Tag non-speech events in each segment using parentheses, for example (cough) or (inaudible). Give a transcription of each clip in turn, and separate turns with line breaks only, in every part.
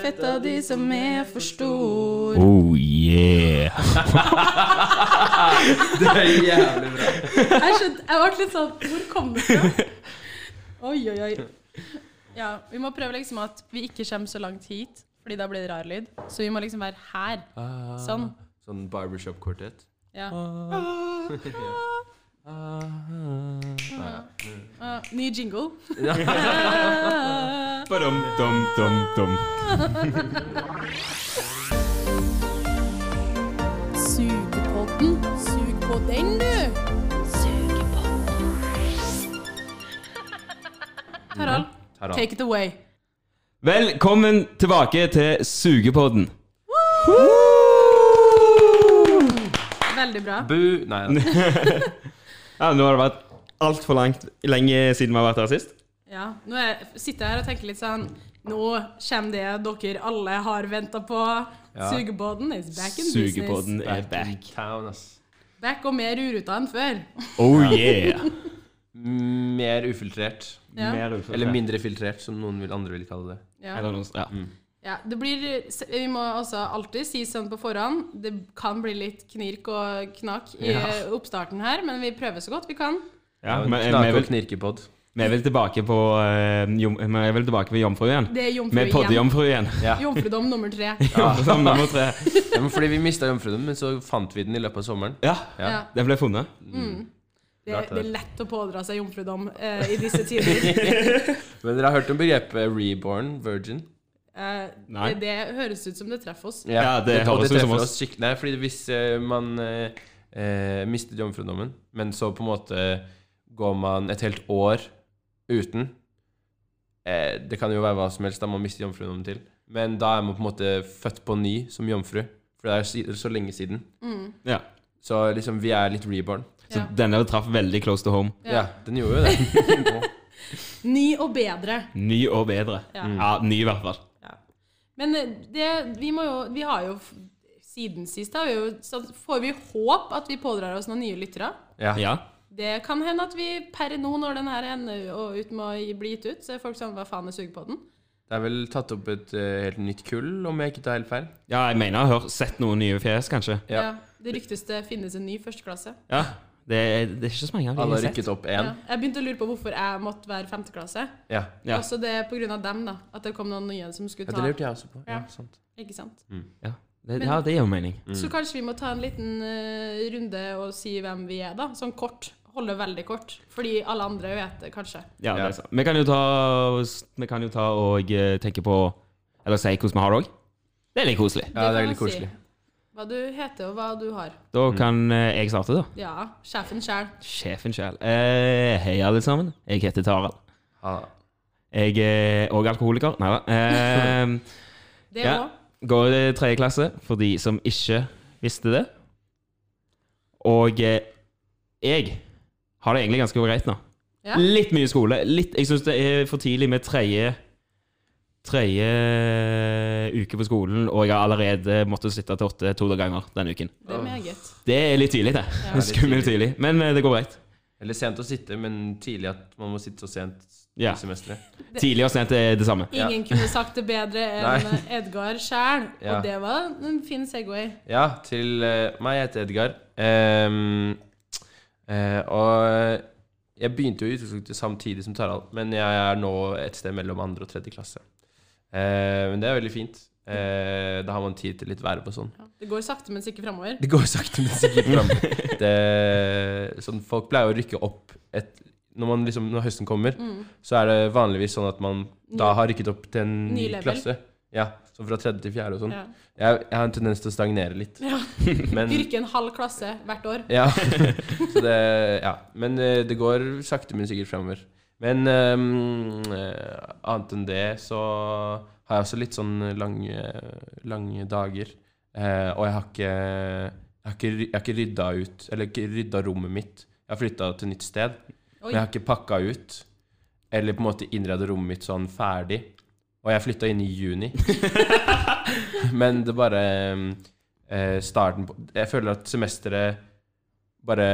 fetta di som er for stor.
Oh yeah.
Det er jævlig bra.
Jeg skjønte, jeg ble litt sånn Hvor kom det fra? Oi, oi, oi. Ja, vi må prøve liksom at vi ikke kommer så langt hit, fordi da blir det rar lyd. Så vi må liksom være her. Sånn.
Sånn barbershop-kvartett.
Ja.
Ja.
Ah, ny jingle. (laughs)
Badum, dum, dum, dum.
Sugepodden. Sug på den, du. Sugepodden. Harald,
Harald.
take it away.
Velkommen tilbake til Sugepodden.
Veldig bra.
Bu Nei, nei.
Ja, nå har det vært altfor langt lenge siden vi har vært her sist.
Ja, nå er, sitter jeg her og tenker litt sånn Nå kommer det dere alle har venta på.
Ja.
Sugepodden is back in business.
Sugepodden er back.
in Town, ass.
Back og mer uruta enn før.
Oh (laughs) yeah.
Mer ufiltrert.
Ja.
Eller mindre filtrert, som noen vil, andre vil kalle det.
Ja.
Eller noe sånt. Ja.
Ja, det blir, Vi må også alltid si sånn på forhånd Det kan bli litt knirk og knak i
Ja.
oppstarten her, men vi prøver så godt vi kan.
Ja,
Ja,
men vi
Snake
er
og
vel-
knirkepod.
vi er vel tilbake på eh, jom- Vi er vel tilbake på Jomfru igjen.
Det er jomfru
Vi er
igjen.
poddejomfru igjen.
Ja.
(laughs)
Jomfrudom nummer tre.
Som nummer (laughs) tre.
Ja, men fordi vi mista jomfruen, men så fant vi den i løpet av sommeren.
Ja,
(laughs) Ja.
Ja. Mm.
den ble funnet.
Det,
Klart det.
det er lett å pådra seg jomfrudom eh, i disse
(laughs)
tider.
(laughs) Men dere har hørt om begrepet reborn virgin?
Eh,
Nei.
det, det høres ut som det treffer oss.
Ja, det
og
høres ut som
treffer
oss.
skikkelig- Nei, fordi hvis eh, man eh, eh, mistet jomfrudommen, men så på en måte går man et helt år uten eh, Det kan jo være hva som helst da man mister jomfrudommen til. Men da er man på en måte født på ny som jomfru, for det er si- så lenge siden.
Ja.
Så liksom, vi er litt reborn.
Så
Ja.
denne traff veldig close to home.
Ja, den gjorde jo det. (laughs)
Ny og bedre.
Ny og bedre.
Ja.
Mm.
Ja, ny i hvert fall.
Men eh, det, vi, må jo, vi har jo f- siden sist har vi jo, så Får vi håp at vi pådrar oss noen nye lyttere?
Ja.
Ja.
Det kan hende at vi per nå, når den her ender og ut må bli gitt ut, så er folk sånn Hva faen er sugepodden?
Det er vel tatt opp et eh, helt nytt kull, om jeg ikke tar helt feil.
ja, jeg mener jeg har hørt- sett noen nye fjes, kanskje.
Ja.
Det ryktes det finnes en ny førsteklasse.
Ja. Det er, det er ikke så mange av dem
Alle har
jeg har sett.
rykket opp
Ja.
én.
Jeg begynte å lure på hvorfor jeg måtte være femteklasse.
Ja.
Ja.
Også det er på grunn av dem, da. At det kom noen nye som skulle
ja,
ta
det lurte jeg også på. Ja,
Ja.
sant.
Ikke sant?
Mm.
Ja. Det, ja, det gir jo mening.
Så kanskje vi må ta en liten eh, runde og si hvem vi er, da. Sånn kort. Holde veldig kort. Fordi alle andre vet det kanskje.
Ja, det
Ja.
er sant. Vi kan jo ta, vi kan jo ta og eh, tenke på Eller si hvordan vi har det òg. Det er litt koselig.
Ja, det
kan
er
man
litt
si.
koselig.
Hva du heter og hva du har.
Da kan eh, jeg starte, da.
Ja, sjefen sjæl.
Sjefen sjæl. Eh, hei, alle sammen. Jeg heter Tarald.
Ja.
Jeg er òg alkoholiker. Nei da. Eh,
Det
Ja.
òg.
går i tredje klasse, for de som ikke visste det. Og eh, jeg har det egentlig ganske greit nå.
Ja.
Litt mye skole. Litt, jeg syns det er for tidlig med tredje Tredje uke på skolen, og jeg har allerede måttet sitte til åtte to ganger denne uken.
Det er meget.
Det er litt tidlig, det.
Ja, litt
(laughs) Skummelt tidlig. Men eh, det går greit.
Eller sent å sitte, men tidlig at man må sitte så sent
Ja.
i semesteret.
Tidlig og sent er det samme.
Ingen kunne sagt det
(laughs)
bedre enn
Nei.
Edgar sjæl.
Ja.
Og det var en fin Segway.
Ja, til eh, meg. Jeg heter Edgar. Ehm, eh, og jeg begynte jo i utgangspunktet samtidig som Tarald, men jeg er nå et sted mellom andre og tredje klasse. Eh, men det er veldig fint. Eh, da har man tid til litt verv og sånn.
Det går sakte, men sikkert framover.
Det går sakte, men sikkert (laughs) fram. Det- Sånn, folk pleier å rykke opp et, når, man liksom, når høsten kommer,
Mm.
så er det vanligvis sånn at man da har rykket opp til en ny,
Ny level.
klasse. Ja, sånn fra tredje til fjerde og sånn.
Ja.
Jeg, jeg har en tendens til å stagnere litt.
Ja.
(laughs) Men,
Yrke en halv klasse hvert år.
ja, så det, ja. men eh, det går sakte, men sikkert framover. Men eh, eh, annet enn det så har jeg også litt sånn lange, lange dager. Eh, og jeg har ikke, jeg har ikke, ry- jeg har ikke rydda ut Eller ikke rydda rommet mitt. Jeg har flytta til nytt sted,
Oi.
men jeg har ikke pakka ut. Eller på en måte innreda rommet mitt sånn ferdig. Og jeg flytta inn i juni. (laughs) men det bare eh, Starten på Jeg føler at semesteret bare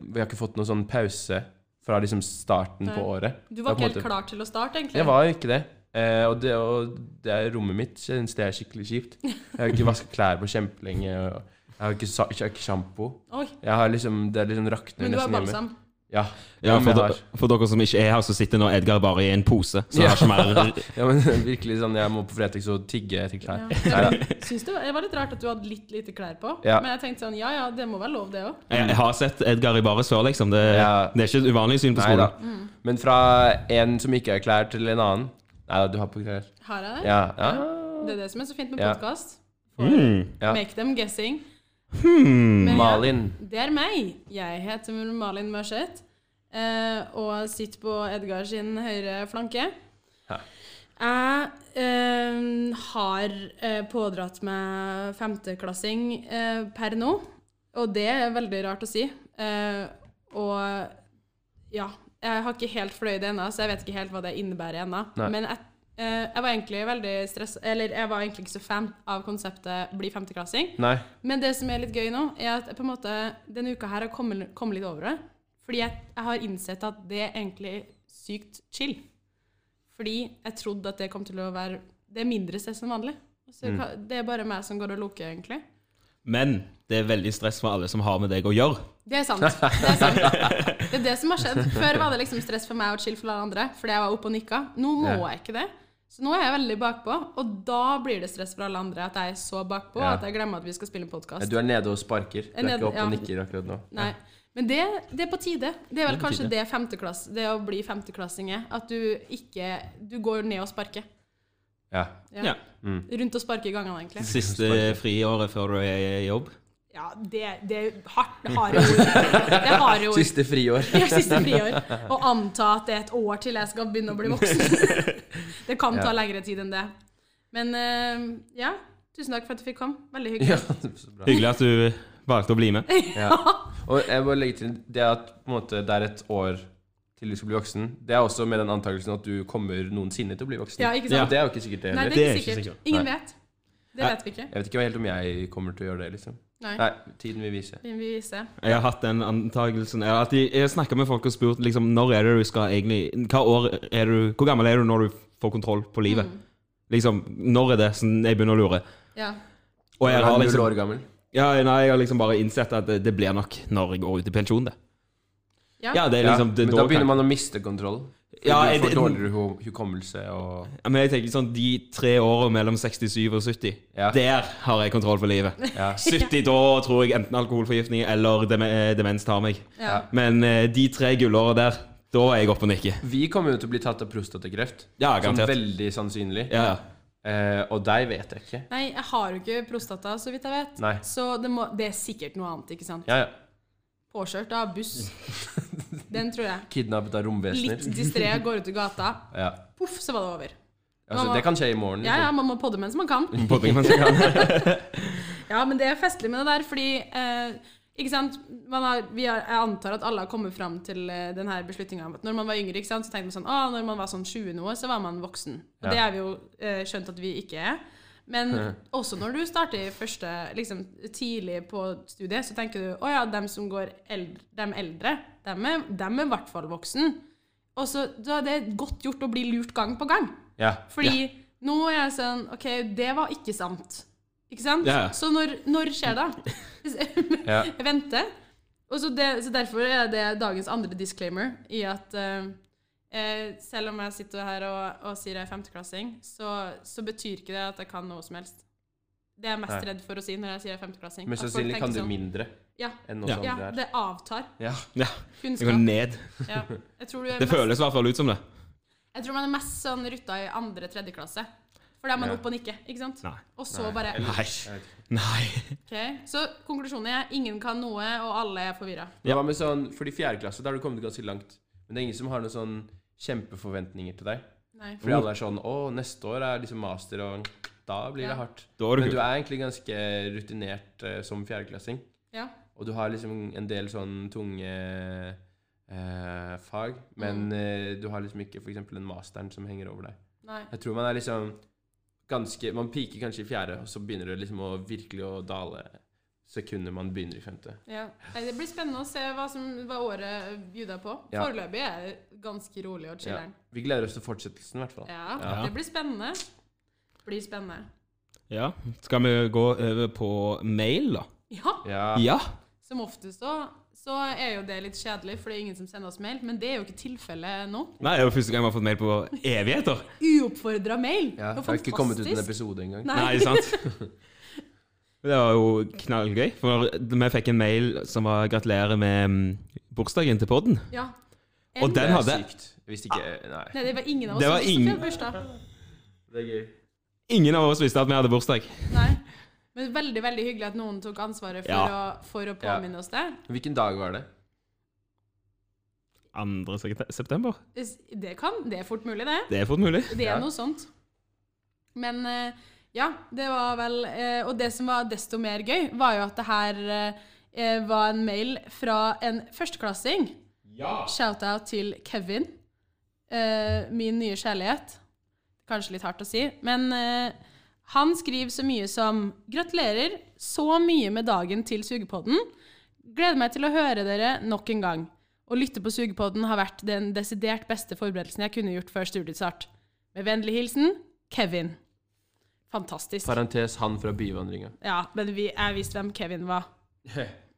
Vi har ikke fått noen sånn pause fra liksom starten
Nei.
på året.
Du var
Det er på en
ikke helt
måte-
klar til å starte, egentlig.
Jeg var jo ikke det. Eh, og, det, og det er rommet mitt syns det er skikkelig kjipt. Jeg har ikke vasket klær på kjempelenge. og Jeg har ikke, sa- jeg har ikke sjampo.
Oi,
Jeg har liksom, det er liksom rakner
men du har
nesten hjemme.
balsam.
Ja,
Ja,
men
for,
jeg
de-
har-
for dere som ikke er her, så sitter nå Edgar bare i en pose. Så
Ja.
har
(laughs)
ikke mer
ja, men virkelig sånn, jeg må på Fretex og tigge
Ja.
etter klær. Neida.
Jeg syns det var, det var litt rart at du hadde litt lite klær på.
Ja.
Men jeg tenkte sånn, ja ja, det må være lov, det òg.
Jeg, jeg har sett Edgar i baris før, liksom. Det,
Ja.
det er ikke et uvanlig syn på
Nei da.
skolen.
Mm.
Men fra en som ikke har klær, til en annen Nei da, du har på klær.
Har jeg det?
Ja, ja.
Det er det som er så fint med
Ja.
podkast.
Mm.
Ja.
Make them guessing.
Hmm.
Men ja,
Malin.
det er meg. Jeg heter Malin Mørseth eh, og sitter på Edgar sin høyre flanke.
Ja.
Jeg eh, har eh, pådratt meg femteklassing eh, per nå, og det er veldig rart å si. Eh, og ja, jeg har ikke helt fløyd det ennå, så jeg vet ikke helt hva det innebærer ennå.
Nei.
Men jeg, eh, jeg var egentlig veldig stressa Eller jeg var egentlig ikke så fan av konseptet bli femteklassing.
Nei.
Men det som er litt gøy nå, er at jeg på en måte denne uka her har kommet, kommet litt over det. Fordi jeg, jeg har innsett at det er egentlig sykt chill. Fordi jeg trodde at det kom til å være Det er mindre stress enn vanlig. Så
Mm.
jeg kan- Det er bare meg som går og loker, egentlig.
Men det er veldig stress for alle som har med deg å gjøre.
Det er sant. Det er
(laughs)
sant. Det er det som har skjedd. Før var det liksom stress for meg og chill for alle andre, fordi jeg var oppe og nikka. Nå må
Ja.
jeg ikke det. Så nå er jeg veldig bakpå, og da blir det stress for alle andre at jeg er så bakpå
Ja.
at jeg glemmer at vi skal spille podkast.
Ja, Du er nede og sparker. Du
Jeg er
er
nede-
ikke oppe og
ja.
nikker akkurat nå.
Nei. Men det, det er på tide. Det er vel
Det er på
kanskje
tide.
det femteklass, det å bli femteklassing er. At du ikke Du går ned og sparker.
Ja.
Ja.
Rundt og sparker i gangene, egentlig.
Siste friåret før du er i jobb.
Ja, det, det er hardt. Det harde ord. Det er harde ord.
Siste friår. (laughs)
Ja, siste friår. Å anta at det er et år til jeg skal begynne å bli voksen. Det kan ta
Ja.
lengre tid enn det. Men eh, ja, tusen takk for at du fikk komme. Veldig hyggelig.
Ja, så bra.
Hyggelig at du valgte å
(laughs)
bli med.
Ja. Og jeg må legge til det at på en måte, det er et år til du skal bli voksen. Det er også med den antakelsen at du kommer noensinne til å bli voksen.
Ja, ikke
Ja.
sant?
Det er jo ikke sikkert det
Nei,
heller.
det er ikke sikkert. Ingen vet. Det
Nei.
vet vi ikke.
Jeg vet ikke helt om jeg kommer til å gjøre det, liksom.
Nei.
Nei, tiden vil vise.
Vi vi ser.
Jeg har hatt den antakelsen Jeg har alltid jeg har snakket med folk og spurt liksom, Når er det du skal egentlig hva år er du, Hvor gammel er du når du får kontroll på livet?
Mm.
Liksom, Når er det sånn, jeg begynner å lure?
Ja.
Og jeg har,
Null
liksom,
år gammel.
ja, nei, jeg har liksom bare innsett at det, det blir nok når jeg går ut i pensjon, det.
Ja.
Ja, det er liksom
ja,
det,
men da begynner man å miste kontroll.
Ja,
du
jeg-
får dårligere hu- hukommelse og
ja, Men jeg tenker sånn De tre årene mellom 67 og 70,
Ja.
der har jeg kontroll på livet.
Ja.
70 da tror jeg enten alkoholforgiftning eller dem eh, demens tar meg.
Ja.
Men eh, de tre gullåra der, da er jeg oppe og nikker.
Vi kommer jo til å bli tatt av prostatakreft.
Ja,
som
garantert.
veldig sannsynlig.
Ja, ja.
Eh, og deg vet jeg ikke.
Nei, jeg har jo ikke prostata, så vidt jeg vet.
Nei.
Så det, må, det er sikkert noe annet, ikke sant?
Ja, (laughs) ja.
Påkjørt av buss. Den tror jeg.
Kidnappet av
Litt
romvesener.
distré, går ut i gata.
Ja.
Poff, så var det over.
Altså, det kan skje i morgen.
Ja, ja,
Liksom.
man må podde mens man kan.
(laughs)
Ja, men det er festlig med det der, fordi eh, Ikke sant? Man har, vi har, jeg antar at alle har kommet fram til eh, denne beslutninga. Når man var yngre, ikke sant? så tenkte man sånn ah, Når man var sånn 20 nå, så var man voksen. Og
Ja.
det har vi jo eh, skjønt at vi ikke er. Men også når du starter i første, liksom, tidlig på studiet, så tenker du å ja, dem som går eldre, dem eldre, dem er, dem er i hvert fall voksen. Og så da er det godt gjort å bli lurt gang på gang.
liksom. Ja.
Fordi nå er jeg sånn OK, det var ikke sant. Ikke sant?
Ja.
Så når, når skjer det?
(laughs)
(laughs)
Ja.
jeg venter. Og så, det, så derfor er det dagens andre disclaimer i at eh, eh, selv om jeg sitter her og, og sier jeg er femteklassing, så, så betyr ikke det at jeg kan noe som helst. Det er jeg mest
Nei.
redd for å si når jeg sier jeg er femteklassing.
Men
At folk
sannsynlig kan
tenker
du
sånn,
mindre
Ja,
enn oss
Ja.
ja,
andre her.
det avtar
Ja.
Ja, jeg går
kunnskap.
ned.
Ja. Jeg, tror
(laughs)
du er
Det
mest,
føles i hvert fall ut som det.
jeg tror man er mest sånn rutta i andre-tredje klasse. For da er man
Ja.
oppe og nikker, ikke sant?
Nei.
Og så bare
Nei.
Jeg vet ikke.
Nei.
Ok, Så konklusjonen er ingen kan noe, og alle er forvirra.
Ja.
Hva med sånn, fordi fjerde klasse, da har du kommet ganske langt. Men det er ingen som har noen sånn kjempeforventninger til deg.
Nei.
Fordi alle er sånn Å, neste år er liksom master, og da blir
Ja.
det hardt.
Da er
Men
du
du
kul.
er egentlig ganske rutinert eh, som fjerdeklassing.
Ja.
Og du har liksom en del sånn tunge eh, fag, men
Mm.
eh, du har liksom ikke f.eks. den masteren som henger over deg.
Nei.
Jeg tror man er liksom ganske Man piker kanskje i fjerde, og så begynner det liksom å virkelig å dale sekundet man begynner i femte.
Ja. Nei, Det blir spennende å se hva, som, hva året bjuder på.
Ja.
Foreløpig er det ganske rolig og
Ja.
chiller'n.
Vi gleder oss til fortsettelsen, i hvert fall.
Ja.
Ja.
Det blir spennende. Blir spennende.
Ja. Skal vi gå over på mail, da?
Ja!
Ja.
Ja.
Som oftest da, så er jo det litt kjedelig, for det er ingen som sender oss mail. Men det er jo ikke tilfellet nå.
Nei, det er jo første gang vi har fått mail på evigheter.
Uoppfordra mail!
Ja,
det var
det har ikke kommet ut en
fantastisk.
episode engang.
Nei.
Nei, sant? (laughs) Det var jo knallgøy, for vi fikk en mail som var 'gratulerer med mm, bursdagen til podden'.
Ja.
Og
Eller-
den
Det er
hadde-
sykt. Hvis ikke Nei.
Nei, det var ingen av oss
Det
som
var
visste
ingen-
at vi hadde bursdag.
Det er gøy.
Ingen av oss visste at vi hadde bursdag.
Nei. Men veldig veldig hyggelig at noen tok ansvaret for,
Ja.
å, for å påminne oss det.
Hvilken dag var det?
2. sekte- september.
Det kan, det er fort mulig, det.
Det er fort mulig.
Det er
Ja.
noe sånt. Men eh, ja, det var vel eh, Og det som var desto mer gøy, var jo at det her eh, var en mail fra en førsteklassing.
Ja.
Shout-out til Kevin. eh, min nye kjærlighet. Kanskje litt hardt å si, men eh, han skriver så mye som Gratulerer så mye med dagen til Sugepodden. Gleder meg til å høre dere nok en gang. Å lytte på Sugepodden har vært den desidert beste forberedelsen jeg kunne gjort før studiestart. Med vennlig hilsen Kevin. Fantastisk.
Parentes han fra byvandringa.
Ja, men vi, jeg visste hvem Kevin var.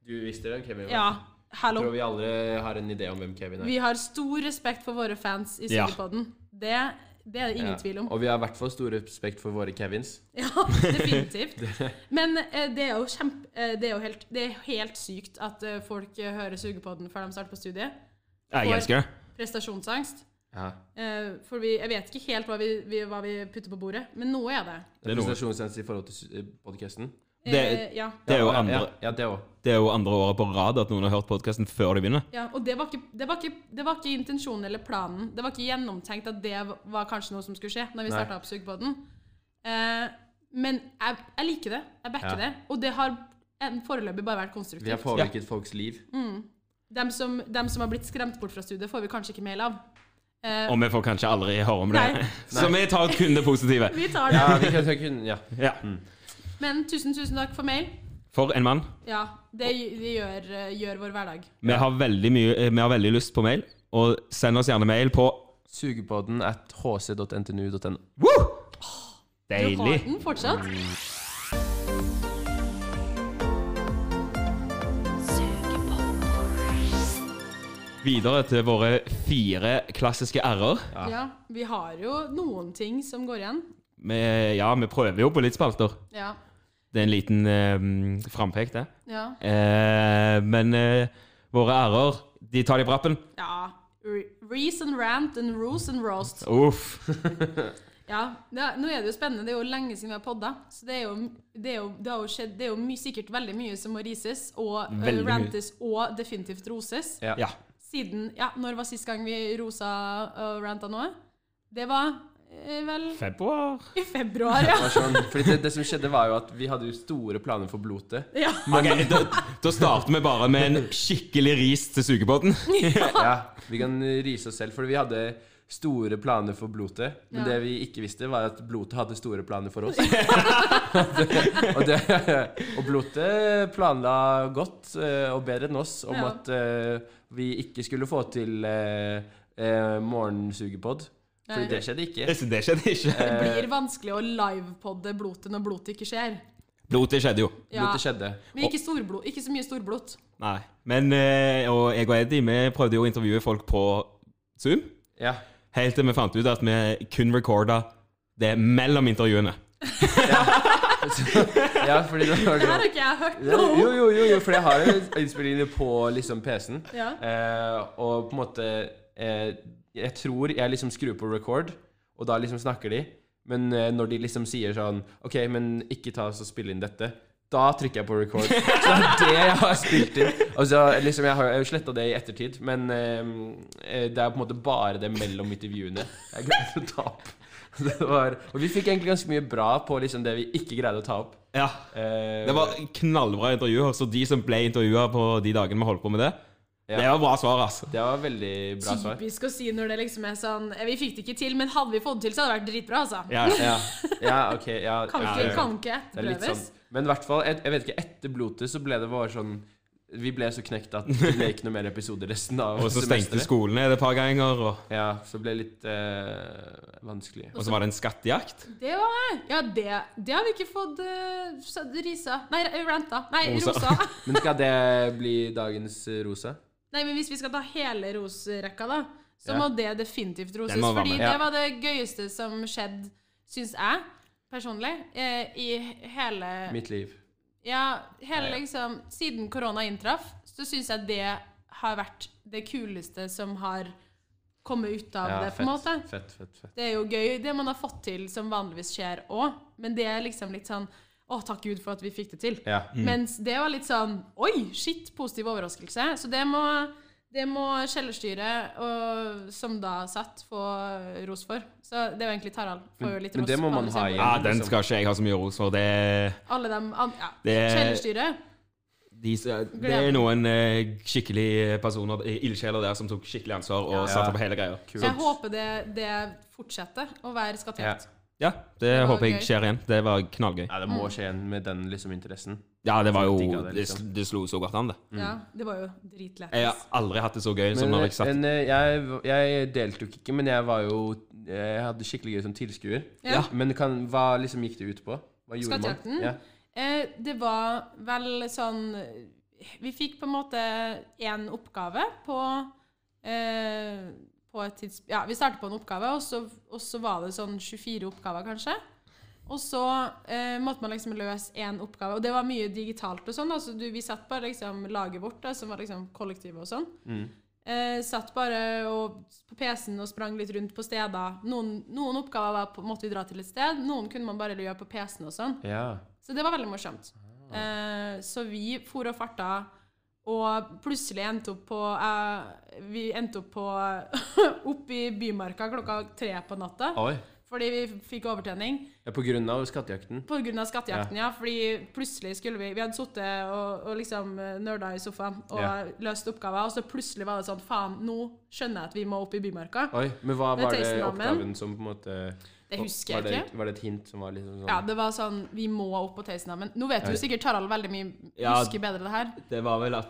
Du visste det, Kevin?
Ja,
Jeg
hallo.
tror vi alle har en idé om hvem Kevin er.
Vi har stor respekt for våre fans i
Ja.
Sugepodden. Det, det er det ingen
Ja.
tvil om.
Og vi har i hvert fall stor respekt for våre Kevins.
(laughs) Ja, definitivt. Men eh, det er jo kjempe... Eh, det, er jo helt, det er helt sykt at eh, folk eh, hører Sugepodden før de starter på studiet.
Jeg elsker det.
Prestasjonsangst.
Ja.
Eh, for vi, jeg vet ikke helt hva vi, vi, hva vi putter på bordet, men noe er det.
Det er noe.
Prestasjonsangst i forhold til podkasten.
Eh,
Det-
ja.
Det er jo
ja,
andre,
Ja, ja, det òg.
det er jo andre året på rad at noen har hørt podkasten før de begynner.
Ja, og det var, ikke, det, var ikke, det var ikke intensjonen eller planen. Det var ikke gjennomtenkt at det var kanskje noe som skulle skje når vi
Nei.
starta opp Sugepodden. Eh, men jeg, jeg liker det. Jeg backer
Ja.
det. Og det har en foreløpig bare vært konstruktivt.
Vi har påvirket folks liv.
dem, som, dem som har blitt skremt bort fra studiet, får vi kanskje ikke mail av. Eh,
Og vi får kanskje aldri høre om det.
Nei.
Så vi tar kun det positive.
vi tar det.
Ja, vi kan, kan, ja.
Ja.
Men tusen, tusen takk for mail.
For en mann.
Ja, det, det gjør, eh, gjør vår hverdag.
Vi har veldig, mye, eh, vi har veldig lyst på mail, og send oss gjerne mail på
Sugepodden at hc.ntnu.no.
Woo!
Du har
Deilig.
den fortsatt.
Videre til våre fire klassiske r-er.
Ja. Vi har jo noen ting som går igjen.
Vi, ja, vi prøver jo på litt spalter.
Ja.
Det er en liten eh, frampek, det.
Ja.
Eh, men eh, våre r-er, de tar de på rappen.
Ja. re- Reason rant and roos and roast.
Uff.
Ja, det er, Nå er det jo spennende. Det er jo lenge siden vi har podda. Så det er jo, det er jo, det har jo, skjedd, det er jo my, sikkert veldig mye som må rises og eh,
Veldig mye.
rantes og definitivt roses.
Ja.
(laughs) Ja.
Siden Ja, når var sist gang vi rosa og ranta noe? Det var eh, vel
Februar.
i februar, ja.
(laughs) Det var Sånn, fordi det, det som skjedde, var jo at vi hadde jo store planer for blotet.
ja.
Ok, da, da starter vi bare med en skikkelig ris til sugebåten.
(laughs) Ja, vi kan rise oss selv, for vi hadde store planer for blotet. Men
Ja.
det vi ikke visste, var at blotet hadde store
(laughs)
planer for oss. og, det, og blotet planla godt, eh, og bedre enn oss, om
Ja.
at eh, vi ikke skulle få til eh, eh, morgensugepod. For
Nei.
det skjedde ikke. Eh,
Det, (laughs) det skjedde ikke.
Det blir vanskelig å livepodde blotet når blotet ikke skjer.
Blotet skjedde jo.
Ja.
Blotet skjedde.
Men ikke, storblod, ikke så mye storblot.
Nei. Men eh, og jeg og Eddie vi prøvde jo å intervjue folk på Zoom,
Ja.
helt til vi fant ut at vi kun recorda det mellom intervjuene.
ja, fordi det var
Det her har ikke jeg hørt
Ja,
noe om.
jo, jo, jo, jo, for jeg har jo innspillingene på liksom PC-en.
Ja.
Eh, og på en måte eh, Jeg tror jeg liksom skrur på record, og da liksom snakker de. Men eh, når de liksom sier sånn OK, men ikke ta oss og spille inn dette. Da trykker jeg på record. Så det er det jeg har spilt inn. Altså, liksom, jeg har jeg har jo sletta det i ettertid, men eh, eh, det er på en måte bare det mellom intervjuene jeg greide å ta opp. (laughs) Det var, og vi fikk egentlig ganske mye bra på liksom det vi ikke greide å ta opp.
Ja.
Eh,
Det var knallbra intervjuer, så de som ble intervjua på de dagene vi holdt på med det,
Ja.
det var bra svar, altså.
Det var veldig bra svar.
Typisk å si når det liksom er sånn eh, Vi fikk det ikke til, men hadde vi fått det til, så hadde det vært dritbra, altså.
Ja, ja.
Ja, ja ok. Ja,
(laughs) Kan
ja,
ikke,
ja.
kan ikke
Det er litt
etterprøves.
sånn Men i hvert fall, jeg, jeg vet ikke, etter blotet så ble det bare sånn Vi ble så knekt at det ble ikke noe mer episode resten av
(laughs) Og så stengte
semesteret.
skolen ned et par ganger, og,
Ja, så det ble litt eh, vanskelig.
og så var det en skattejakt.
sånn-
Det var det. Ja, det, det har vi ikke fått eh, sa- risa Nei, ranta. Nei,
Rosa.
rosa. (laughs)
Men skal det bli dagens eh, rosa?
Nei, men hvis vi skal ta hele rosrekka, da, så
Ja.
må det definitivt roses.
Den må være
Fordi
med.
Ja.
det var det gøyeste som skjedde, syns jeg, personlig, eh, i hele
Mitt liv.
Ja, hele
Ja, ja.
liksom Siden korona inntraff, så syns jeg det har vært det kuleste som har kommet ut av det, på en måte.
fett, fett, fett, fett.
Det er jo gøy, det man har fått til som vanligvis skjer òg, men det er liksom litt sånn Å, takk Gud for at vi fikk det til.
Ja.
Mm.
Mm.
Mens det var litt sånn Oi, shit, positiv overraskelse. Så det må, det må kjellerstyret, og, som da satt, få ros for. Så det var egentlig Tarald. Får jo litt
Men
ros
det må
på
man
alle
ha
sine-
Ja,
igjen.
den skal ikke jeg ha så mye ros for. Det,
Alle dem an- ja.
Det-
Kjellerstyret.
de, det er noen eh, skikkelige personer, eh, ildsjeler der, som tok skikkelig ansvar og
Ja.
satsa på hele greia.
Så jeg håper det, det fortsetter å være skattejakt.
Ja, det,
var
håper jeg
gøy.
skjer igjen. Det var knallgøy.
Ja, det
Mm.
må skje igjen med den liksom interessen.
Ja, det var jo
Digga det,
Det,
liksom.
det slo så godt an, det.
Ja, det var jo dritlættis.
Jeg har aldri hatt det så gøy som
Men,
når jeg satt
en, eh, jeg, jeg deltok ikke, men jeg var jo Jeg hadde skikkelig gøy som tilskuer.
Ja.
Men kan, hva liksom gikk det ut på? Hva gjorde
Skattejakten?
man? Ja.
Eh, det var vel sånn Vi fikk på en måte én oppgave på eh, på et tids... Ja, vi startet på en oppgave, og så, og så var det sånn 24 oppgaver, kanskje. Og så eh, måtte man liksom løse én oppgave. Og det var mye digitalt og sånn. Altså, du, vi satt bare liksom laget vårt, da, som var liksom kollektivet og sånn. Eh, satt bare og, på PC-en og sprang litt rundt på steder. Noen, noen oppgaver var på, måtte vi dra til et sted, noen kunne man bare gjøre på PC-en og sånn.
ja.
Så det var veldig morsomt.
Ah.
Eh, så vi for og farta, og plutselig endte opp på eh, Vi endte opp på (laughs) opp i Bymarka klokka tre på natta
Oi.
fordi vi fikk overtenning.
Ja, på grunn av skattejakten?
På grunn av skattejakten, ja. Fordi plutselig skulle vi Vi hadde sittet og, og liksom eh, nerda i sofaen og
Ja.
løst oppgaver, og så plutselig var det sånn Faen, nå skjønner jeg at vi må opp i Bymarka.
Oi, Men hva
Med
var det
Tøysendamen.
oppgaven som på en måte
Det husker
ah, var
jeg
det, sånn-
ikke.
Var det et hint som var liksom sånn
Ja, det var sånn Vi må opp på Tøysenhammen. Nå vet
Ja.
jo sikkert Tarald veldig mye
Ja.
Husker bedre det her.
Det var vel at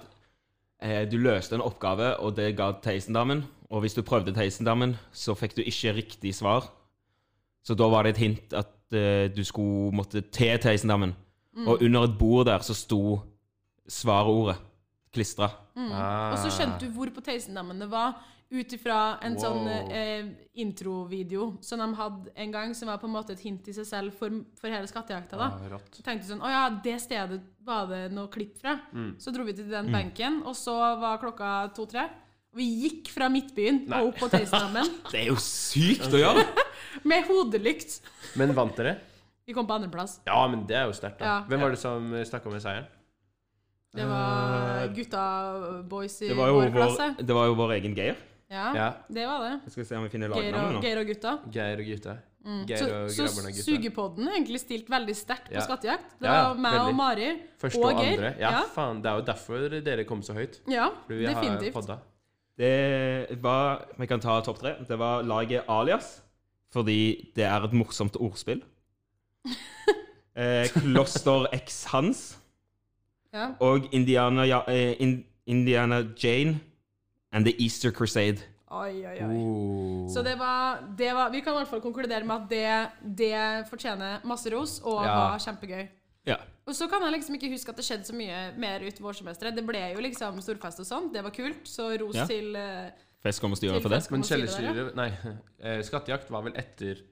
eh, du løste en oppgave, og det ga Theisendammen. Og hvis du prøvde Theisendammen, så fikk du ikke riktig svar. Så da var det et hint at eh, du skulle måtte til Theisendammen.
Mm.
Og under et bord der så sto svarordet klistra.
ah.
Mm. Og så skjønte du hvor på Tøysendammen det var, ut ifra en
Wow.
sånn eh, introvideo som de hadde en gang, som var på en måte et hint i seg selv for, for hele skattejakta. da.
ah, Rått.
Så tenkte du sånn Å ja, det stedet var det noe klipp fra. Så dro vi til den benken, og så var klokka to-tre. Og vi gikk fra Midtbyen
Nei.
og opp på Tøysendammen
(laughs) Det er jo sykt å gjøre!
med hodelykt.
Men vant dere?
Vi kom på andreplass.
Ja, men det er jo sterkt, da.
Ja.
Hvem var det som snakka med seieren?
Det var gutta boys i
Det var jo
vår
vår,
klasse.
det var jo vår egen Geir.
Ja,
Ja.
det var det.
Jeg skal se om vi finner
Geir og,
lagnavnet nå.
Geir og gutta.
Geir og gutta? Geir og
Mm. Så,
grabberne
så
og gutta?
sugepodden er egentlig stilt veldig sterkt på
Ja.
skattejakt. Det
Ja, ja,
var meg
veldig.
og Mari
Første
og
og,
Geir.
andre. Ja,
ja.
faen. Det er jo derfor dere kom så høyt.
ja,
Fordi vi har
definitivt.
podda.
Det var Vi kan ta topp tre. Det var laget Alias, fordi det er et morsomt ordspill. Eh, Kloster X Hans
Ja.
og Indiana, ja, eh, in, Indiana Jane and The Easter Crusade.
Oi, oi, oi.
Oh.
Så det var, det var Vi kan i hvert fall konkludere med at det, det fortjener masse ros og
Ja.
var kjempegøy.
Ja.
Og så kan jeg liksom ikke huske at det skjedde så mye mer ut vårsemesteret. Det ble jo liksom storfest og sånn. Det var kult. Så ros
Ja.
til eh,
Fest kommer styret for det.
Tilfest. Kan
Men
man si det der,
kjellerstyret Nei, (laughs) eh, skattejakt var vel etter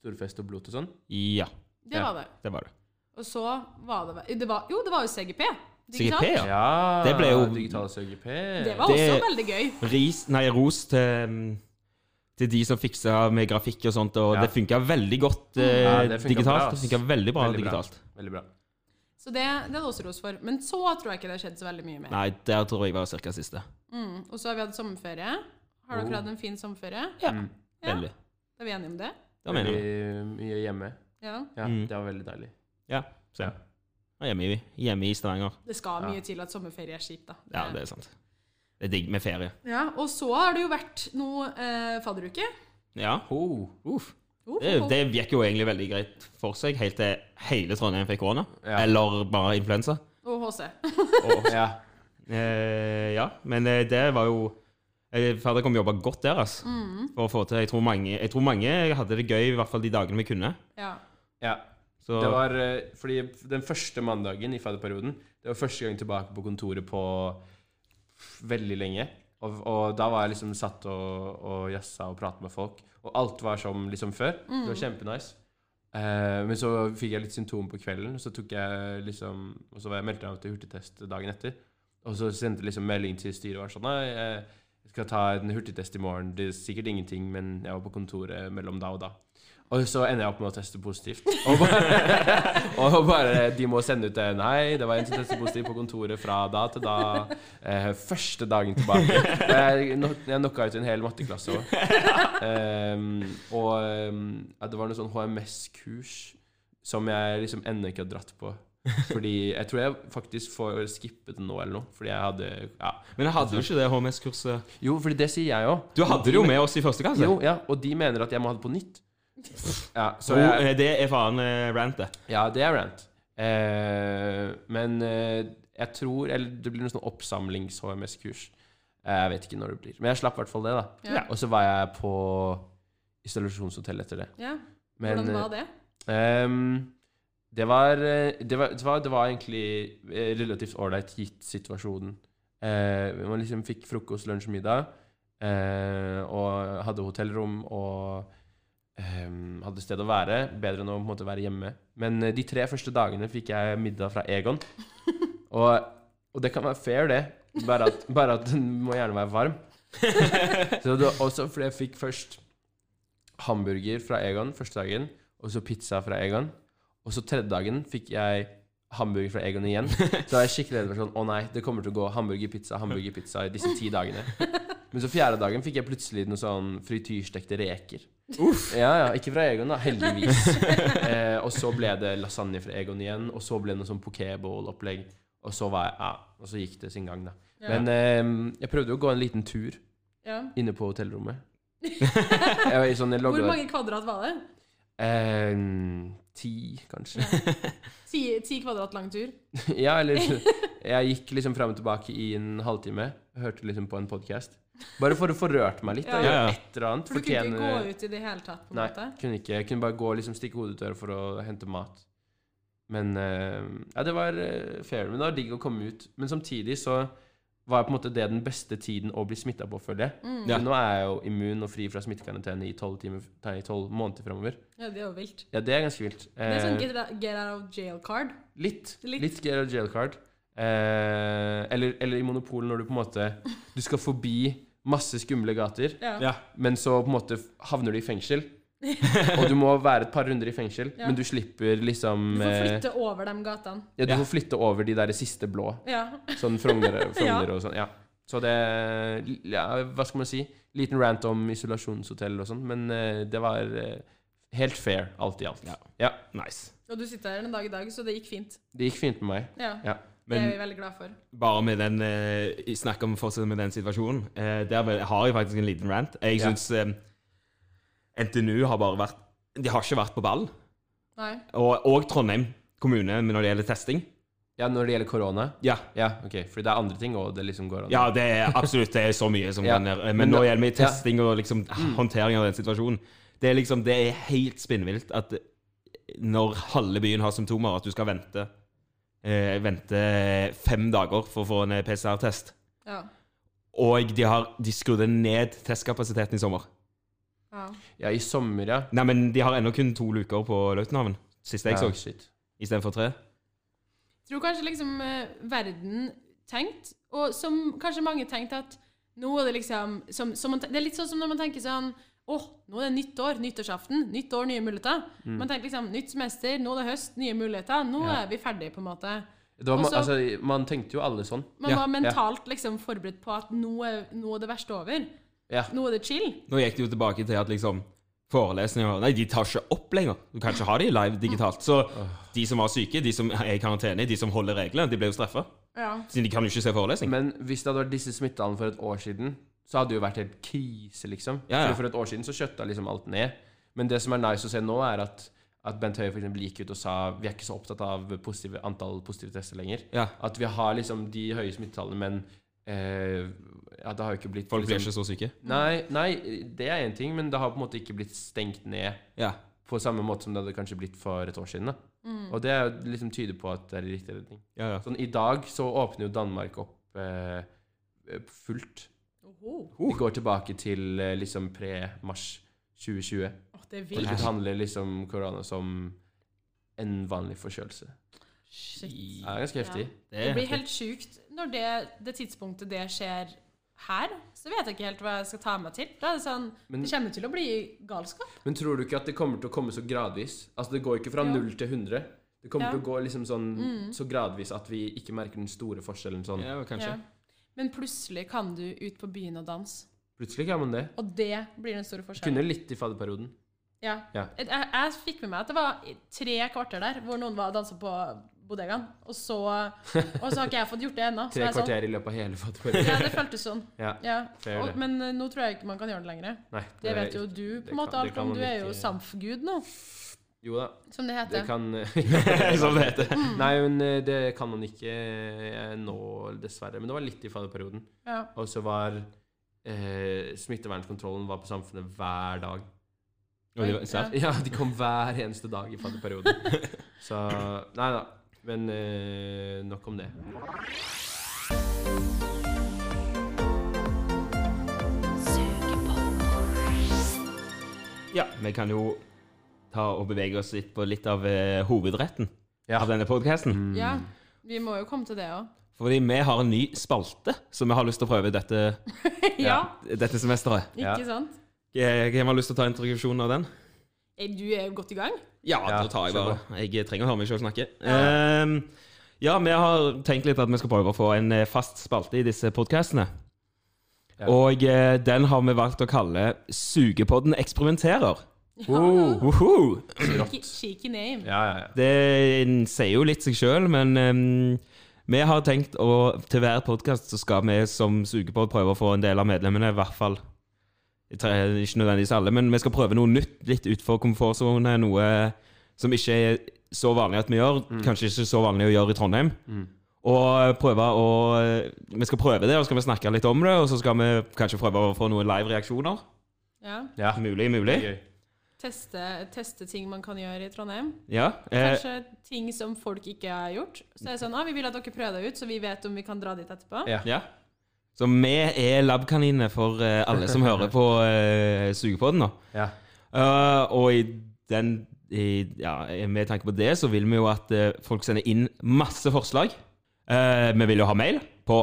storfest og blot og sånn?
Ja,
Det
Ja.
var det.
det var det.
Og så var det vel- det var, Jo, det var jo CGP. digitalt.
CGP, ja.
Ja!
Det ble jo-
Digital CGP.
Det var
Det-
også veldig gøy.
Ris, nei, ros til mm, til de som fiksa med grafikk og sånt, og
Ja.
det funka veldig godt eh,
Ja, det funket
digitalt.
bra,
det
ass.
funka veldig bra
Veldig bra.
digitalt.
Veldig bra.
Så det, det hadde også ros for. Men så tror jeg ikke det har skjedd så veldig mye mer.
Nei, der tror jeg var cirka siste.
Mm. Og så har vi hatt sommerferie. Har dere hatt en fin sommerferie?
Ja,
Ja.
veldig.
Da er vi enige om det?
Da mener jeg.
Veldig mye hjemme.
Ja.
Ja,
Mm.
Det var veldig deilig.
Ja, så ja. Og Hjemme i, hjemme i Stavanger.
Det skal
Ja.
mye til at sommerferie er kjipt, da.
Ja, det er sant. Det er digg med ferie.
Ja, og så har det jo vært noe eh, fadderuke.
Ja.
Oh.
Uff.
God
Det, det gikk jo egentlig veldig greit for seg, helt til hele Trondheim fikk korona.
Ja.
Eller bare influensa.
Og HC.
Ja.
Eh, ja, men eh, det var jo eh, Fader kom jobba godt der, altså.
Mm.
For å få til. Jeg tror, mange, jeg tror mange hadde det gøy, i hvert fall de dagene vi kunne.
Ja.
ja.
Så
Det var eh, fordi den første mandagen i fadderperioden Det var første gang tilbake på kontoret på veldig lenge. Og, og da var jeg liksom satt og, og jazza og pratet med folk. Og alt var som liksom før. Det var kjempenice. Eh, men så fikk jeg litt symptomer på kvelden, og så tok jeg liksom Og så var jeg meldte jeg meg til hurtigtest dagen etter. Og så sendte jeg liksom melding til styret og var sånn Nei, jeg jeg skal ta en hurtigtest i morgen. Det er sikkert ingenting, men jeg var på kontoret mellom da og da. Og så ender jeg opp med å teste positivt. Og bare, (laughs) og bare De må sende ut det. Nei, det var en som testet positivt på kontoret fra da til da. Eh, første dagen tilbake. Og Jeg, no- jeg knocka ut en hel matteklasse òg. og ehm, ja, det var noe sånn HMS-kurs som jeg liksom ennå ikke har dratt på. Fordi Jeg tror jeg faktisk får skippet det nå eller noe. Fordi jeg hadde ja.
Men jeg hadde jo ikke det HMS-kurset.
Jo, fordi det sier jeg òg.
Du hadde det jo med oss i første klasse.
Jo, ja, og de mener at jeg må ha det på nytt. Ja, så
Jo,
jeg,
eh, det er faen eh, rant, det.
ja det er rant. Eh, men eh, jeg tror Eller det blir noe sånn oppsamlings-HMS-kurs. Eh, Jeg vet ikke når det blir. Men jeg slapp i hvert fall det, da.
Ja.
Og så var jeg på installasjonshotell etter det.
ja.
Men, eh,
Hvordan var det?
Ehm, det, var, eh, det, var, det, var, det var egentlig eh, relativt ålreit gitt situasjonen. Eh, man liksom fikk frokost, lunsj og middag, eh, og hadde hotellrom og ehm, hadde sted å være. Bedre enn å på en måte, være hjemme. Men eh, de tre første dagene fikk jeg middag fra Egon. Og, og det kan være fair, det. Bare at, bare at den må gjerne være varm. Så det var også fordi jeg fikk først hamburger fra Egon første dagen og så pizza fra Egon. Og så tredje dagen fikk jeg hamburger fra Egon
(laughs)
igjen. Så da var jeg skikkelig redd for sånn Å nei, det kommer til å gå hamburger, pizza, hamburger, pizza i disse ti
(laughs)
dagene. Men så fjerde dagen fikk jeg plutselig noe sånn frityrstekte reker. Uff. Ja, ja, Ikke fra Egon, da.
(laughs)
Heldigvis. Eh, og så ble det lasagne fra Egon igjen, og så ble det noe sånn pokébowl-opplegg. Og så var jeg, ja, og så gikk det sin gang, da.
Ja.
Men eh, jeg prøvde jo å gå en liten tur
ja.
inne på
(laughs)
hotellrommet. Jeg var i sånn, jeg
Hvor
logget-
mange kvadrat var det?
Eh, ti, kanskje.
Ti, ti kvadrat lang tur?
(laughs) Ja, eller
(laughs)
Jeg gikk liksom fram og tilbake i en halvtime. Hørte liksom på en podkast. Bare for å få rørt meg litt. Da,
Ja.
gjøre
Ja, ja.
et eller annet.
For du kunne ikke
fortjene-
gå ut i det hele tatt? på en
Nei,
måte?
kunne ikke. Jeg kunne bare gå og liksom stikke hodet ut døra for å hente mat. Men eh, Ja, det var eh, fair. Men det var digg å komme ut. Men samtidig så var på en måte det den beste tiden å bli smitta på, føler jeg.
Mm.
Ja.
Men Nå er jeg jo immun og fri fra smittekarantene i tolv måneder framover.
Ja, det er jo vilt.
Ja, det er ganske vilt.
Det er sånn
Eh,
get, get out of jail card.
Litt.
Litt.
Litt, Get Out Jail Card. Eh, eller, eller i Monopol, når du på en måte Du skal forbi masse skumle gater,
Ja.
Ja.
men så på en måte havner du i
(laughs)
fengsel. Og du må være et par runder i fengsel,
Ja.
men du slipper liksom
Du får
eh,
flytte over de gatene.
Ja, du
Ja.
får flytte over de der siste blå.
Ja.
Sånn Frogner
(laughs) Ja.
Frogner og sånn. Ja. Så det ja, Hva skal man si? Liten rant om isolasjonshotell og sånn, men eh, det var eh, helt fair, alt i alt.
Ja.
ja.
Nice.
Og du sitter her en dag i dag, så det gikk fint.
Det gikk fint med meg.
Ja.
Ja.
det er
Men
vi veldig glad for.
bare med den eh, Snakk om å fortsette med den situasjonen. Eh, der vel- har jeg faktisk en liten rant. Jeg
Ja.
synes eh, syns NTNU har bare vært De har ikke vært på ball.
Nei.
Og, og Trondheim kommune når det gjelder testing.
Ja, når det gjelder korona
Ja,
Ja, ok, fordi det er andre ting også, det liksom går an.
ja det er absolutt det er så mye som
Ja.
kan gjøre. Men
Men
nå
da- Mm.
gjelder det testing og liksom håndtering av den situasjonen. Det er liksom, det er helt spinnvilt at når halve byen har symptomer, at du skal vente, eh, vente fem dager for å få en PCR-test.
Ja.
Og de har de skrudde ned testkapasiteten i sommer.
ja.
Ja, i sommer, ja.
Nei, men de har ennå kun to luker på Løitenhaven. Siste jeg
ja,
så,
shit.
istedenfor tre.
Tror kanskje liksom eh, verden tenkt, og som kanskje mange tenkte at nå er det liksom som, som man, ten- Det er litt sånn som når man tenker sånn Åh, nå er det nytt år, nyttårsaften. Nytt år, nye muligheter.
Mm.
Man tenker liksom nytt semester, nå er det høst, nye muligheter. Nå
Ja.
er vi ferdige, på en måte.
Det var, man,
Også-
altså, man tenkte jo alle sånn.
Man
Ja,
var
ja.
mentalt liksom forberedt på at nå er, nå er det verste over.
Ja.
Nå er det chill.
Nå gikk det jo tilbake til at liksom forelesninger Nei, de tar ikke opp lenger. Du kan ikke ha de live digitalt. Så de som var syke, de som er i karantene, de som holder reglene, de ble jo straffa.
Ja.
Siden de kan jo ikke se forelesning.
Men hvis det hadde vært disse smittetallene for et år siden, så hadde det jo vært helt krise, liksom.
Ja, ja.
Fordi For et år siden så kjøtta liksom alt ned. Men det som er nice å se nå, er at, at Bent Høie for eksempel gikk ut og sa vi er ikke så opptatt av positive, antall positive tester lenger.
Ja.
At vi har liksom de høye smittetallene, men eh, ja, det har jo ikke blitt
Folk blir
liksom-
ikke så syke.
Nei, nei, det er én ting, men det har på en måte ikke blitt stengt ned
Ja.
på samme måte som det hadde kanskje blitt for et år siden. Da.
Mm.
Og det er jo liksom tyder på at det er i riktig retning.
Ja, ja.
Sånn, I dag så åpner jo Danmark opp eh, fullt.
Oho.
Vi går tilbake til eh, liksom pre-mars 2020.
Åh, det er
For
vilt.
det handler liksom korona som en vanlig forkjølelse.
Shit.
Det er ganske heftig.
Det blir helt sjukt. Når det, det tidspunktet det skjer her, så vet jeg ikke helt hva jeg skal ta meg til. Da er det sånn
Men-
Det kommer til å bli galskap.
Men tror du ikke at det kommer til å komme så gradvis? Altså Det går ikke fra
Ja.
null til 100. Det kommer
Ja. Mm.
til å gå liksom sånn så gradvis at vi ikke merker den store forskjellen sånn.
Ja, kanskje.
Ja. Men plutselig kan du ut på byen og danse.
Plutselig kan man det.
Og det blir den store forskjellen.
Kunne litt i fadderperioden.
Ja.
Ja.
Jeg, jeg- jeg fikk med meg at det var i tre kvarter der hvor noen var og dansa på bodegaen. Og så, og så har ikke jeg fått gjort det ennå. så
Tre
jeg er
kvarter i løpet av hele fadderperioden.
Sånn, ja, det føltes sånn.
Ja.
Ja.
Fair
Og,
det.
men eh, nå tror jeg ikke man kan gjøre det lenger.
Nei,
Det vet jo du på
det
en måte
kan- det
alt
kan
om.
man
Du er jo
ikke-
samfgud nå,
Jo da,
som det Mm.
det
heter.
kan
(laughs)
(laughs)
Som det heter.
Nei, men eh, det kan man ikke eh, nå, dessverre. Men det var litt i fadderperioden.
Ja.
Og så var eh, smittevernkontrollen var på samfunnet hver dag.
Og det var- serr?
Ja, de kom hver eneste dag
(laughs)
i fadderperioden. Så Nei da. Men eh, nok om det.
Ja, vi kan jo ta og bevege oss litt på litt av eh, hovedretten
Ja.
av denne podkasten.
ja. Vi må jo komme til det òg.
Fordi vi har en ny spalte som vi har lyst til å prøve dette,
(laughs) ja,
dette semesteret.
ikke
Ja.
sant?
Eh, Hvem har lyst til å ta introduksjonen av den?
Eh, Du er jo godt i gang.
Ja,
Ja,
da tar jeg
kjør
bare. Jeg trenger å høre meg sjøl snakke. Ehm, ja, vi har tenkt litt at vi skal prøve å få en eh, fast spalte i disse podkastene.
Ja.
Og eh, den har vi valgt å kalle Sugepodden eksperimenterer.
Oh.
Woho!
Cheeky, cheeky name.
Ja, ja, ja.
Det sier jo litt seg sjøl, men ehm, vi har tenkt å Til hver podkast så skal vi som sugepodd prøve å få en del av medlemmene, i hvert fall jeg tror eh, Ikke nødvendigvis alle, men vi skal prøve noe nytt, litt utenfor komfortsone. Noe som ikke er så vanlig at vi gjør. Kanskje ikke så vanlig å gjøre i Trondheim. Og prøve å eh, Vi skal prøve det, og så skal vi snakke litt om det. Og så skal vi kanskje prøve å få noen live reaksjoner.
Ja.
ja.
Mulig, mulig.
Gøy.
Teste, teste ting man kan gjøre i Trondheim.
Ja. Eh,
Kanskje ting som folk ikke har gjort. Så er det sånn, ah, Vi vil at dere prøver det ut, så vi vet om vi kan dra dit etterpå.
Ja.
Ja. Så vi er labkaninene for eh, alle som hører på uh, Sugepodden nå.
Ja.
Eh, og i den i, ja, med tanke på det, så vil vi jo at eh, folk sender inn masse forslag. Eh, vi vil jo ha mail på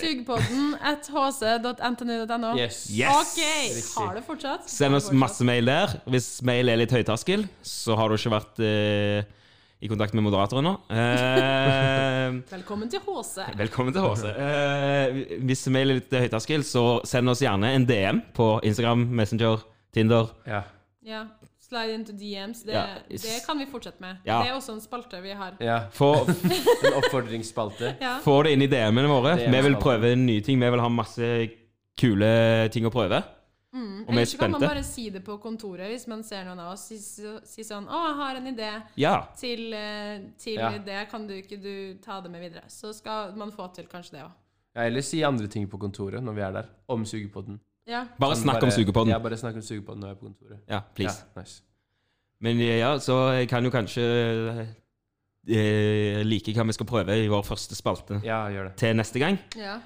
Sugepodden Ah! at hc.ntnu.no.
Yes.
Yes!
Ok!
Riktig.
Har det fortsatt?
Send oss
Har det
masse mail der. Hvis mail er litt høyterskel, så har du ikke vært eh, i kontakt med moderatoren nå. Eh, (laughs)
fortsatt. Velkommen til HC.
Velkommen til HC. Eh, hvis vi er litt høyterskel, så send oss gjerne en DM på Instagram, Messenger, Tinder.
Ja.
Ja. Slide into DMs. Det,
Ja.
det kan vi fortsette med.
Ja.
Det er også en spalte vi har.
ja.
Få,
En oppfordringsspalte.
Ja.
få det inn i DM-ene våre.
DM-spalten.
Vi vil prøve nye ting. Vi vil ha masse kule ting å prøve. Og vi
Eller
er
Mm. så kan man
spente.
bare si det på kontoret hvis man ser noen av oss. Si, si- si sånn 'Å, jeg har en idé
Ja.
til, eh, til
Ja.
det. Kan du ikke du ta det med videre?' Så skal man få til kanskje det òg.
Ja, eller si andre ting på kontoret når vi er der. Om sugepodden.
Ja.
Bare
Sånn,
snakk om sugepodden.
Ja, bare snakk om sugepodden når jeg er på kontoret.
Ja, please.
Ja, nice.
Men eh, ja, så jeg kan jo kanskje eh, like hva vi skal prøve i vår første spalte
ja gjør det.
til neste gang.
ja.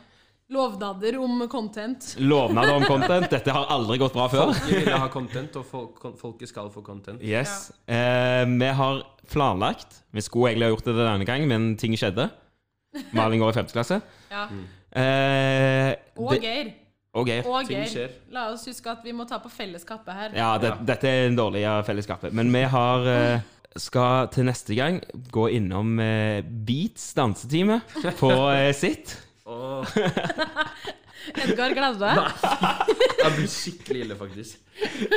Lovnader om content.
Lovnader om content. Dette har aldri gått bra før.
Vi vil ha content, og folk, kon- folket skal få content.
Yes. Eh, vi har planlagt Vi skulle egentlig ha gjort det denne gangen, men ting skjedde. Malin går i femte klasse.
Ja.
Mm.
Eh,
Og
det-
Geir.
og Geir.
Og
Ting
Geir.
skjer.
La oss huske at vi må ta på felleskappet her.
Ja, det, dette er en dårlig av fellesskapet. Men vi har eh, skal til neste gang gå innom eh, Beats dansetime på eh, sitt.
Åh,
Edgar, gleder du deg?
det blir skikkelig ille, faktisk.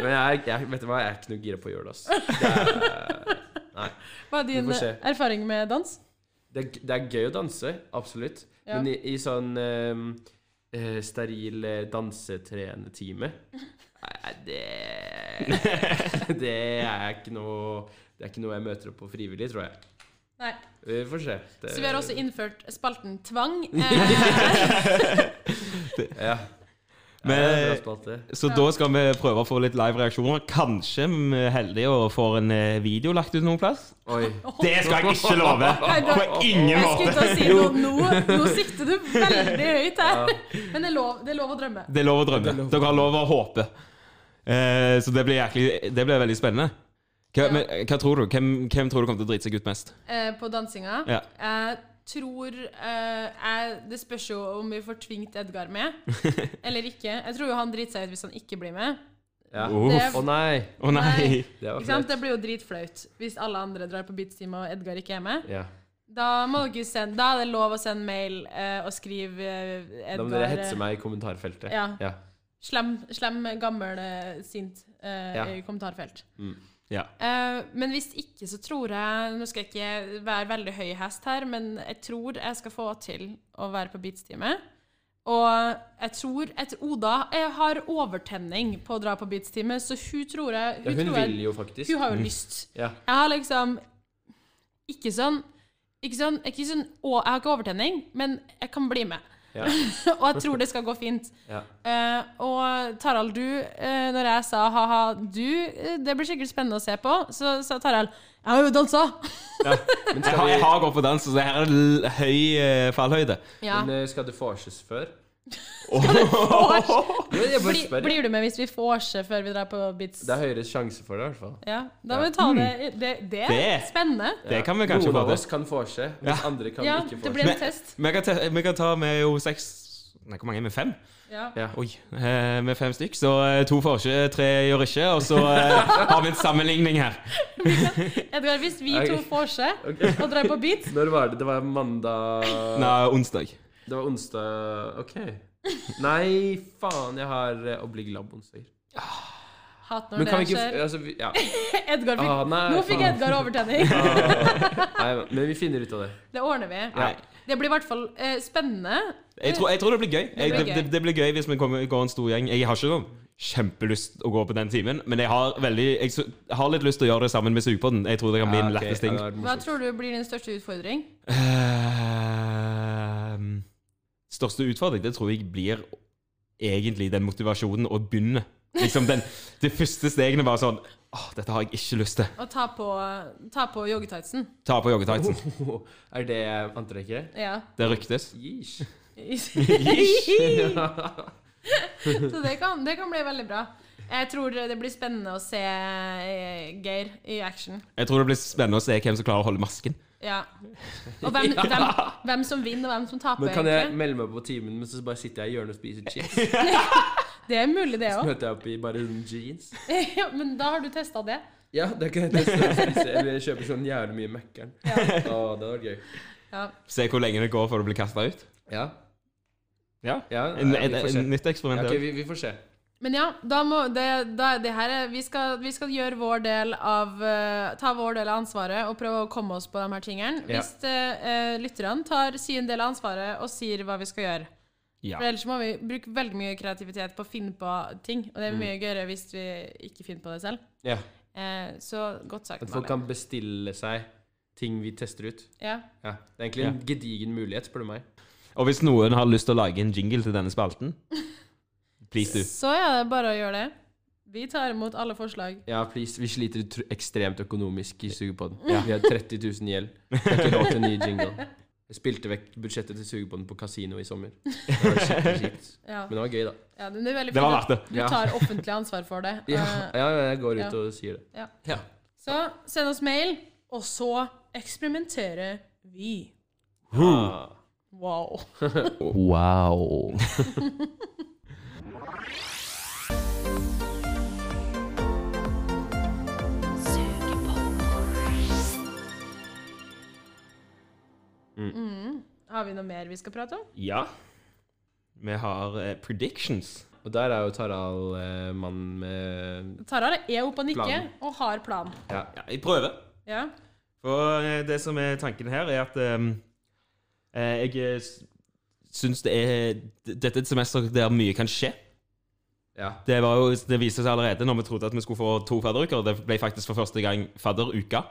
Men jeg, jeg, vet du hva, jeg er ikke noe gira på å gjøre det, ass.
Hva er din
Vi får se.
eh, erfaring med dans?
Det er, det er gøy å danse, absolutt.
Ja.
Men i, i ehm, sånn um, eh, steril eh, dansetrenetime eh, det (laughs) Det er ikke noe Det er ikke noe jeg møter opp på frivillig, tror jeg.
Nei.
Vi får se. Det-
Så vi har også innført spalten tvang. Eh,
(laughs) Ja.
Men-
Ja, det er bra spalte.
Så da skal vi prøve å få litt live reaksjoner. Kanskje vi er heldige og får en eh, video lagt ut noen plass.
Oi.
Det skal jeg ikke love! På ingen
jeg skulle til
måte!
å si noe nå. Nå sikter du veldig høyt her. Men det er lov, det er lov å drømme.
Det er lov å drømme. Dere har lov å håpe. Eh, så det blir, jæklig, det blir veldig spennende. Hva,
Ja.
men, hva tror du? Hvem, hvem tror du kommer til å drite seg ut mest?
Eh, på dansinga.
Ja.
Jeg tror eh, jeg, Det spørs jo om vi får tvingt Edgar
(laughs)
med eller ikke. Jeg tror jo han driter seg ut hvis han ikke blir med.
Ja. Å
Uff.
Det-
nei!
nei.
Nei.
Det var
Ikke sant?
flaut.
Det blir jo dritflaut hvis alle andre drar på beatstime og Edgar ikke er med.
Ja.
Da, må dere sende, da er det lov å sende mail eh, og skrive eh,
Da
Edgar
må dere hetse
eh,
meg i kommentarfeltet.
Ja.
ja.
Slem, slem gammel, eh, sint eh,
Ja.
i kommentarfelt.
Ja.
Eh, men hvis ikke, så tror jeg Nå skal jeg ikke være veldig høy hest her, men jeg tror jeg skal få til å være på Beats-time. Og jeg tror jeg, tror- Oda jeg har overtenning på å dra på Beats-time, så hun tror jeg
ja.
Hun,
Hun
tror jeg,
vil jo Mm. faktisk.
hun har jo lyst.
Ja.
Jeg har liksom Ikke sånn ikke sånn, ikke sånn å, Jeg har ikke overtenning, men jeg kan bli med.
Ja.
(laughs) og jeg tror det skal gå fint.
Ja.
Eh, og Tarald, du, eh, når jeg sa ha-ha, du, eh, det blir sikkert spennende å se på, så sa Tarald jeg har jo dansa!
Men
Jeg,
skal,
har, jeg
vi,
har gått på dans, så her er det l- høy eh, fallhøyde.
(laughs) Ja.
men, eh, skal det vorses før?
Vors.
Jo, Jeg bare
Bli,
spør.
blir du med hvis vi får se før vi drar på Beats?
Det er høyere sjanse for det, i hvert fall.
Ja, da må vi ta det Det, det er
Det.
spennende.
Det kan vi kanskje
Noen
få
av
til.
oss kan vorse, mens andre kan
Ja,
ikke
det
vorse.
blir en test.
Vi kan, ta- vi kan ta med jo seks Nei, hvor mange er vi? Fem?
Ja.
Ja.
Oi, eh, med fem stykk. Så eh, to får ikke, tre gjør ikke. Og så eh, har vi en sammenligning her.
Edgar, hvis vi to
Ok.
får se
(laughs) Ok.
og drar på Beats
Når var det? Det var mandag
Nei, onsdag.
Det var onsdag OK. Nei, faen, jeg har eh, Oblig Lab onsdager.
Hat når
Men kan
det
vi ikke
skjer.
altså,
(laughs)
vi, Ja.
Edgar fikk,
Ah, nei,
nå fikk
faen.
Edgar
(laughs)
overtenning.
Nei, men vi finner ut av det.
Det ordner vi.
Nei.
Det blir i hvert fall eh, spennende.
Jeg tror, jeg tror det blir gøy. Jeg,
blir
det,
gøy.
det, det blir gøy hvis vi kommer, går en stor gjeng. Jeg har ikke sånn kjempelyst å gå på den timen, men jeg har, veldig, jeg s- har litt lyst til å gjøre det sammen med Sugepodden. Jeg tror det kan bli
Ja,
en
ok,
lettest
ja,
ting.
det hadde vært
Hva
morsomt.
tror du blir din største utfordring?
Ehm, største utfordring, det tror jeg blir egentlig den motivasjonen å begynne. Liksom den, det første stegene var sånn Åh, dette har jeg ikke lyst til.
Å ta på, ta på joggetightsen.
Ta på joggetightsen.
(laughs) Er det antrekket?
Ja.
Det ryktes.
Yeesh.
(laughs) Så det kan, det kan bli veldig bra. Jeg tror det blir spennende å se eh, Geir i action.
Jeg tror det blir spennende å se hvem som klarer å holde masken.
Ja. Og
(laughs)
hvem, hvem, hvem som vinner, og hvem som taper,
Men kan jeg
egentlig.
melde meg på timen, men så bare sitter jeg i hjørnet og spiser chips?
Det er mulig, det
Så (laughs)
òg.
møter jeg opp i bare sånn jeans.
ja, men da har du testa det.
Ja, det kan jeg teste å spise. Eller jeg kjøper sånn jævlig mye Mækkern.
Ja.
Å, det hadde vært gøy.
Ja.
Se hvor lenge det går før du blir kasta ut.
Ja.
Ja.
ja
En,
nei,
et,
vi får
et
se.
nytt
Ja,
eksperiment.
ok,
det.
vi, vi får se.
Men ja, da må det, da, er det her er, vi, skal, vi skal gjøre vår del av eh, Ta vår del av ansvaret og prøve å komme oss på de her tingene.
Ja.
Hvis eh, eh, lytterne tar sin del av ansvaret og sier hva vi skal gjøre.
Ja.
For ellers må vi bruke veldig mye kreativitet på å finne på ting. Og det
Mm.
er mye gøyere hvis vi ikke finner på det selv.
Ja.
Eh, så godt sagt,
At folk
Malin.
kan bestille seg ting vi tester ut.
Ja.
Ja. Det er egentlig en gedigen mulighet, spør du meg.
Og hvis noen har lyst til å lage en jingle til denne spalten, please do.
Så er det bare å gjøre det. Vi tar imot alle forslag.
Ja, please. Vi sliter tr- ekstremt økonomisk i Sugepodden. Vi har 30 000 gjeld. Vi har ikke råd til en ny jingle. Jeg spilte vekk budsjettet til Sugepodden på kasino i sommer. Det var skikkelig kjipt.
Ja.
Men det var gøy, da.
Ja, men det er veldig
Det
fint at
var verdt det.
du
Ja.
tar offentlig ansvar for det.
(laughs)
Ja,
Eh,
ja jeg går ut
ja.
og sier det.
Ja.
Ja.
Så send oss mail, og så eksperimenterer vi.
Ah.
Wow.
Wow.
Har vi noe mer vi skal prate om?
Ja. Vi har eh, predictions.
Og der er jo Tarald eh, mann med
Tarald er opp og nikker
Plan.
og har plan.
ja.
Ja, jeg prøver.
Ja.
For eh, det som er tanken her, er at ehm, eh, jeg eh, s- syns det er d- Dette er et semester der mye kan skje.
Ja.
Det, var jo, det viste seg allerede når vi trodde at vi skulle få to fadderuker. Det ble faktisk for første gang fadderuka.